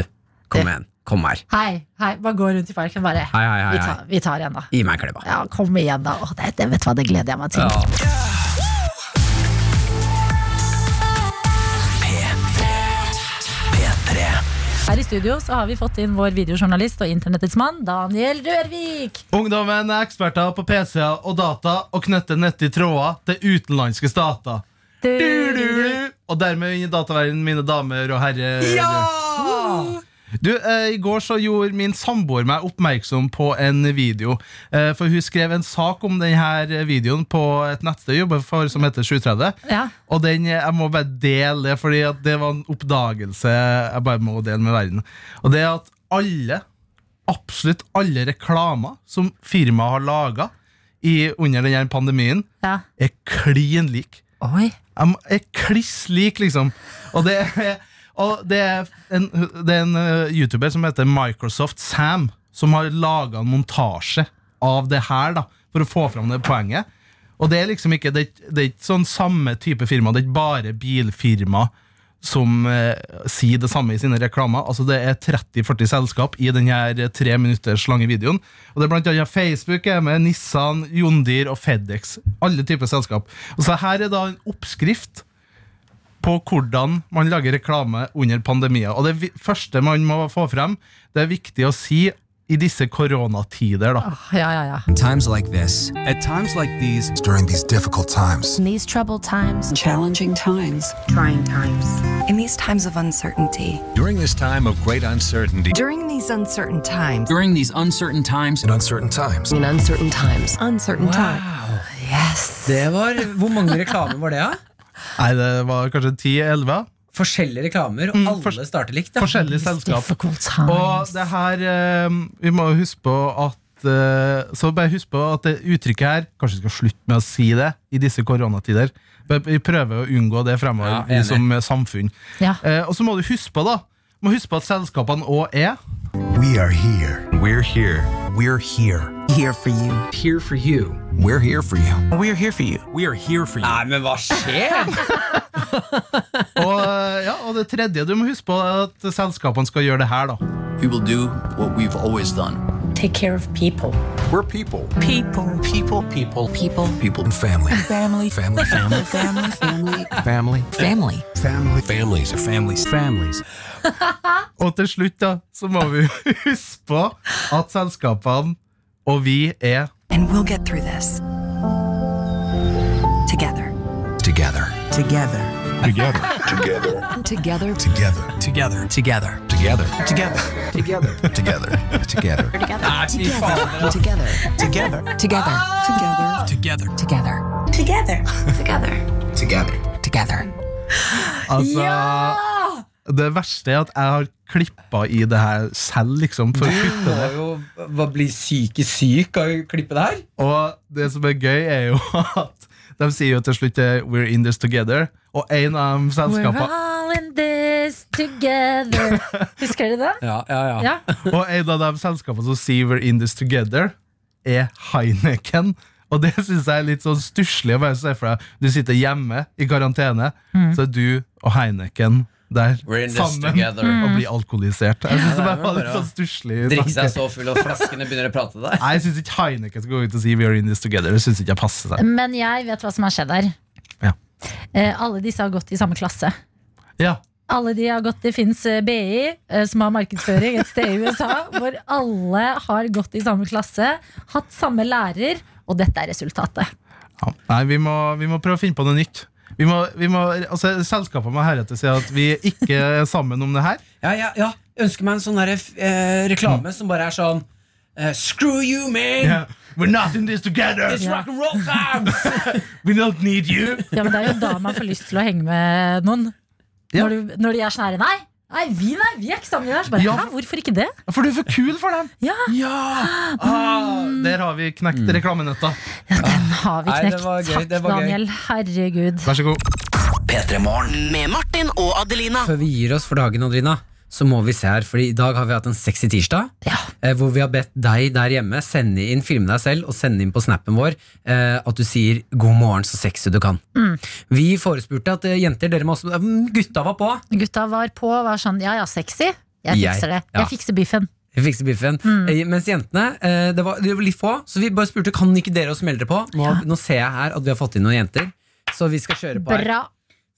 Speaker 4: kom igjen, kom her.
Speaker 3: Hei, hei, bare gå rundt i parken, bare.
Speaker 4: Hei, hei, hei,
Speaker 3: Vi, tar,
Speaker 4: hei.
Speaker 3: vi tar en, da.
Speaker 4: Gi meg en klem, da.
Speaker 3: Ja, kom igjen, da. Åh, det, det, vet du hva, det gleder jeg meg til. Her i studio så har vi fått inn vår videojournalist og internettets mann, Daniel Rørvik.
Speaker 11: Ungdommen er eksperter på PC-er og data og knytter nettige tråder til utenlandske stater. Du, du, du. Og dermed inn i dataverdenen, mine damer og herrer. Du, eh, I går så gjorde min samboer meg oppmerksom på en video. Eh, for hun skrev en sak om denne videoen på et nettsted jeg jobber for, som heter 730.
Speaker 3: Ja.
Speaker 11: Og den, eh, jeg må bare dele det, Fordi at det var en oppdagelse jeg bare må dele med verden. Og det er at alle, absolutt alle reklamer som firmaet har laga under denne pandemien, er klin lik. Jeg må- er kliss lik, liksom. Og det er, og det er en, det er en eh, YouTuber som heter Microsoft Sam, som har laga en montasje av det her, da, for å få fram det poenget. Og det er liksom ikke Det, er- det er ikke sånn samme type firma, det er ikke bare bilfirma som eh, sier det samme i sine reklamer. Altså Det er 30-40 selskap i den her tre minutters lange videoen. Og det er blant annet Facebook, er med Nissan, John Deere og FedEx. Alle typer selskap. Og så her er da en oppskrift på hvordan man lager reklame under pandemier. Og det vi- første man må få frem, det er viktig å si i disse koronatider, da.
Speaker 3: Ja, ja, ja.
Speaker 15: Times like this. At times like these. During these difficult times.
Speaker 2: In these troubled times, challenging times, trying times, in these times of uncertainty,
Speaker 15: During this time of great uncertainty.
Speaker 2: during these uncertain times,
Speaker 15: During these uncertain times. In uncertain times.
Speaker 2: in uncertain times, uncertain times.
Speaker 4: Det var, hvor mange reklamer var det, da?
Speaker 11: Nei, det var kanskje 10-11.
Speaker 4: Forskjellige reklamer, og alle starter likt. Da.
Speaker 11: Forskjellige selskap. Og det her eh, Vi må jo huske på at eh, Så bare husk på at det uttrykket her Kanskje vi skal slutte med å si det i disse koronatider. Men Vi prøver å unngå det fremover,
Speaker 4: Ja, enig.
Speaker 11: vi som eh, samfunn.
Speaker 3: Ja.
Speaker 11: Eh, og så må du huske på da Må huske på at selskapene òg er
Speaker 15: We are here. We're here. We're here. Here for you. Here for you. We're here for you. We're here for you. We are here for you.
Speaker 4: Nei, men hva skjer?
Speaker 11: og, eh, ja, og det tredje du må huske på, er at selskapene skal gjøre det her, da.
Speaker 16: We will do what we've always done.
Speaker 2: Take care of people.
Speaker 16: We're people.
Speaker 2: People.
Speaker 16: People. People.
Speaker 2: People.
Speaker 16: People. And family.
Speaker 2: Family.
Speaker 15: Family. Family.
Speaker 2: Family. Family.
Speaker 15: Family.
Speaker 2: Family.
Speaker 15: Family. Families. Families. Families.
Speaker 11: [laughs] Og til slutt da, så må vi [laughs] huske på at selskapene og vi er
Speaker 2: And we'll get through this. Together.
Speaker 15: Together. Together. Together. Together.
Speaker 2: Together.
Speaker 15: Together. Together. Together. Together. Together. Together. Together. Together.
Speaker 2: Together. Together. Together.
Speaker 15: Together.
Speaker 2: Together. Together.
Speaker 15: Together.
Speaker 2: Together. Together. Together.
Speaker 15: Together.
Speaker 2: Together.
Speaker 11: Altså Det verste er at jeg har klippa i det her selv, liksom. For å
Speaker 4: Du
Speaker 11: kutte
Speaker 4: må
Speaker 11: det.
Speaker 4: jo hva, bli psykisk syk av å klippe det her.
Speaker 11: Og det som er gøy, er jo at de sier jo til slutt eh, 'We're in this together', og en av de
Speaker 3: We're
Speaker 11: selskapene
Speaker 3: all in this
Speaker 11: [laughs]
Speaker 3: together. Husker dere den?
Speaker 4: Ja, ja, ja.
Speaker 3: Ja.
Speaker 11: Og en av de selskapene som sier 'We're in this together', er Heineken.
Speaker 8: Og det syns jeg er litt sånn stusslig å bare se for deg. Du sitter hjemme i karantene,
Speaker 17: Mm.
Speaker 8: så er du og Heineken der
Speaker 4: We're in this
Speaker 8: sammen
Speaker 4: together.
Speaker 11: Mm.
Speaker 8: og blir alkoholisert. Jeg synes det bare var litt sånn stusslig
Speaker 4: Drikke seg
Speaker 8: tanke.
Speaker 4: så full, og flaskene begynner å prate
Speaker 11: [laughs]
Speaker 4: der.
Speaker 8: Nei, jeg syns ikke Heineken skal gå ut og si 'We are in this together'. Det synes ikke jeg
Speaker 3: [laughs]
Speaker 8: passer seg.
Speaker 3: Men jeg vet hva som har skjedd her.
Speaker 8: Ja.
Speaker 3: Eh, alle disse har gått i samme klasse.
Speaker 8: Ja.
Speaker 3: Alle de har gått, Det fins BI, eh, som har markedsføring, et sted i
Speaker 8: [laughs]
Speaker 3: USA, hvor alle har gått i samme klasse, hatt samme lærer, og dette er resultatet.
Speaker 8: Ja. Nei, vi må, vi må prøve å finne på noe nytt. Vi må, vi må, altså, selskapet må heretter si at vi ikke er sammen om det her.
Speaker 18: Ja, ja, ja. Jeg ønsker meg en sånn derre, eh, reklame som bare er sånn eh, Screw you, man!
Speaker 8: Yeah. We're not in this together!
Speaker 18: It's
Speaker 3: Ja.
Speaker 18: rock and roll time!
Speaker 8: We don't need you!
Speaker 3: Ja, men Det er jo da man får lyst til å henge med noen.
Speaker 8: Ja.
Speaker 3: Når, du, når de er sånn her Nei, nei, vi, nei, vi er ikke sammen i det her. Så bare,
Speaker 8: Ja.
Speaker 3: Hæ, hvorfor ikke det?
Speaker 8: For du er for kul for dem.
Speaker 3: Ja.
Speaker 8: Ah, der har vi knekt reklamenøtta.
Speaker 3: Har vi
Speaker 8: Nei, det
Speaker 3: knekt.
Speaker 8: var gøy, det
Speaker 3: Takk,
Speaker 8: var gøy.
Speaker 3: Daniel. Herregud.
Speaker 8: Vær så god.
Speaker 2: Med Martin og Adelina.
Speaker 4: Før vi gir oss for dagen, Adelina, så må vi se her. Fordi i dag har vi hatt en sexy tirsdag. eh, Hvor vi har bedt deg der hjemme sende inn filme deg selv og sende inn på snappen vår eh, at du sier 'god morgen, så sexy du kan'. Vi forespurte at eh, jenter, dere må også Mm, Gutta var på!
Speaker 3: Gutta var på og var sånn ja ja, sexy. Jeg
Speaker 4: Jeg-
Speaker 3: fikser det.
Speaker 4: ja.
Speaker 3: Jeg fikser biffen.
Speaker 4: Vi fikser biffen.
Speaker 3: Mm.
Speaker 4: Eh, Mens jentene, eh, det var, det var litt få, så vi bare spurte kan ikke dere også melde dere på. Nå, nå ser jeg her at vi har fått inn noen jenter, så vi skal kjøre på her.
Speaker 3: Bra.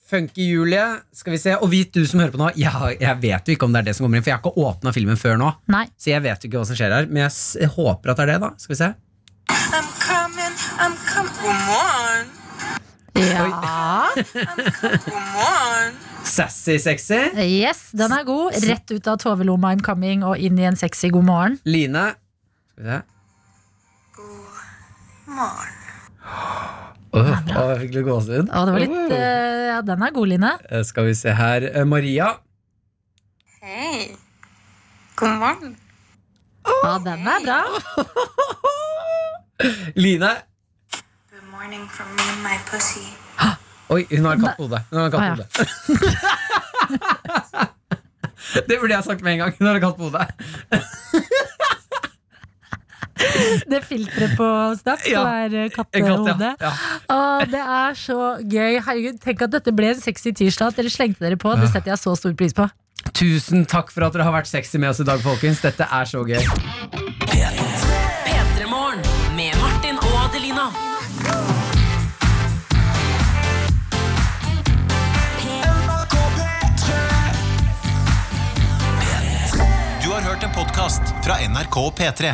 Speaker 4: Funky Julie, skal vi se. Og vit du som hører på nå, jeg, har- jeg vet jo ikke om det er det som kommer inn, for jeg har ikke åpna filmen før nå.
Speaker 3: Nei.
Speaker 4: Så jeg vet jo ikke hva som skjer her, men jeg s jeg håper at det er det, da. Skal vi se.
Speaker 6: I'm coming, I'm coming. God morgen.
Speaker 3: Ja.
Speaker 6: God morgen.
Speaker 4: Sassy sexy.
Speaker 3: [laughs] Yes, den er god. Rett ut av Tove-lomma I'm coming og inn i en sexy god morgen.
Speaker 4: Line. Skal vi se.
Speaker 6: Morgen.
Speaker 4: Åh, å, jeg fikk litt gåsehud.
Speaker 3: Å, det var litt, eh, ja, den er god, Line.
Speaker 4: Eh, Skal vi se her. Eh, Maria.
Speaker 6: Hei. God morgen.
Speaker 3: Ja, den er bra.
Speaker 4: Line.
Speaker 6: Good morning from me and my pussy.
Speaker 4: Oi, hun har en katt på hodet. Hun har en katt på
Speaker 6: Ah,
Speaker 4: hodet. [laughs] Det burde jeg sagt med en gang. Hun har en katt på hodet.
Speaker 3: Det filteret på Snap
Speaker 4: Ja,
Speaker 3: som er eh,
Speaker 4: En katt, ja.
Speaker 3: kattehode.
Speaker 4: ja.
Speaker 3: Å, det er så gøy. Herregud, tenk at dette ble en sexy tirsdag. At dere slengte dere på. Det setter jeg så stor pris på.
Speaker 4: Tusen takk for at dere har vært sexy med oss i dag, folkens. Dette er så gøy.
Speaker 2: P3morgen med Martin og Adelina.
Speaker 15: Du har hørt en podcast fra NRK P3.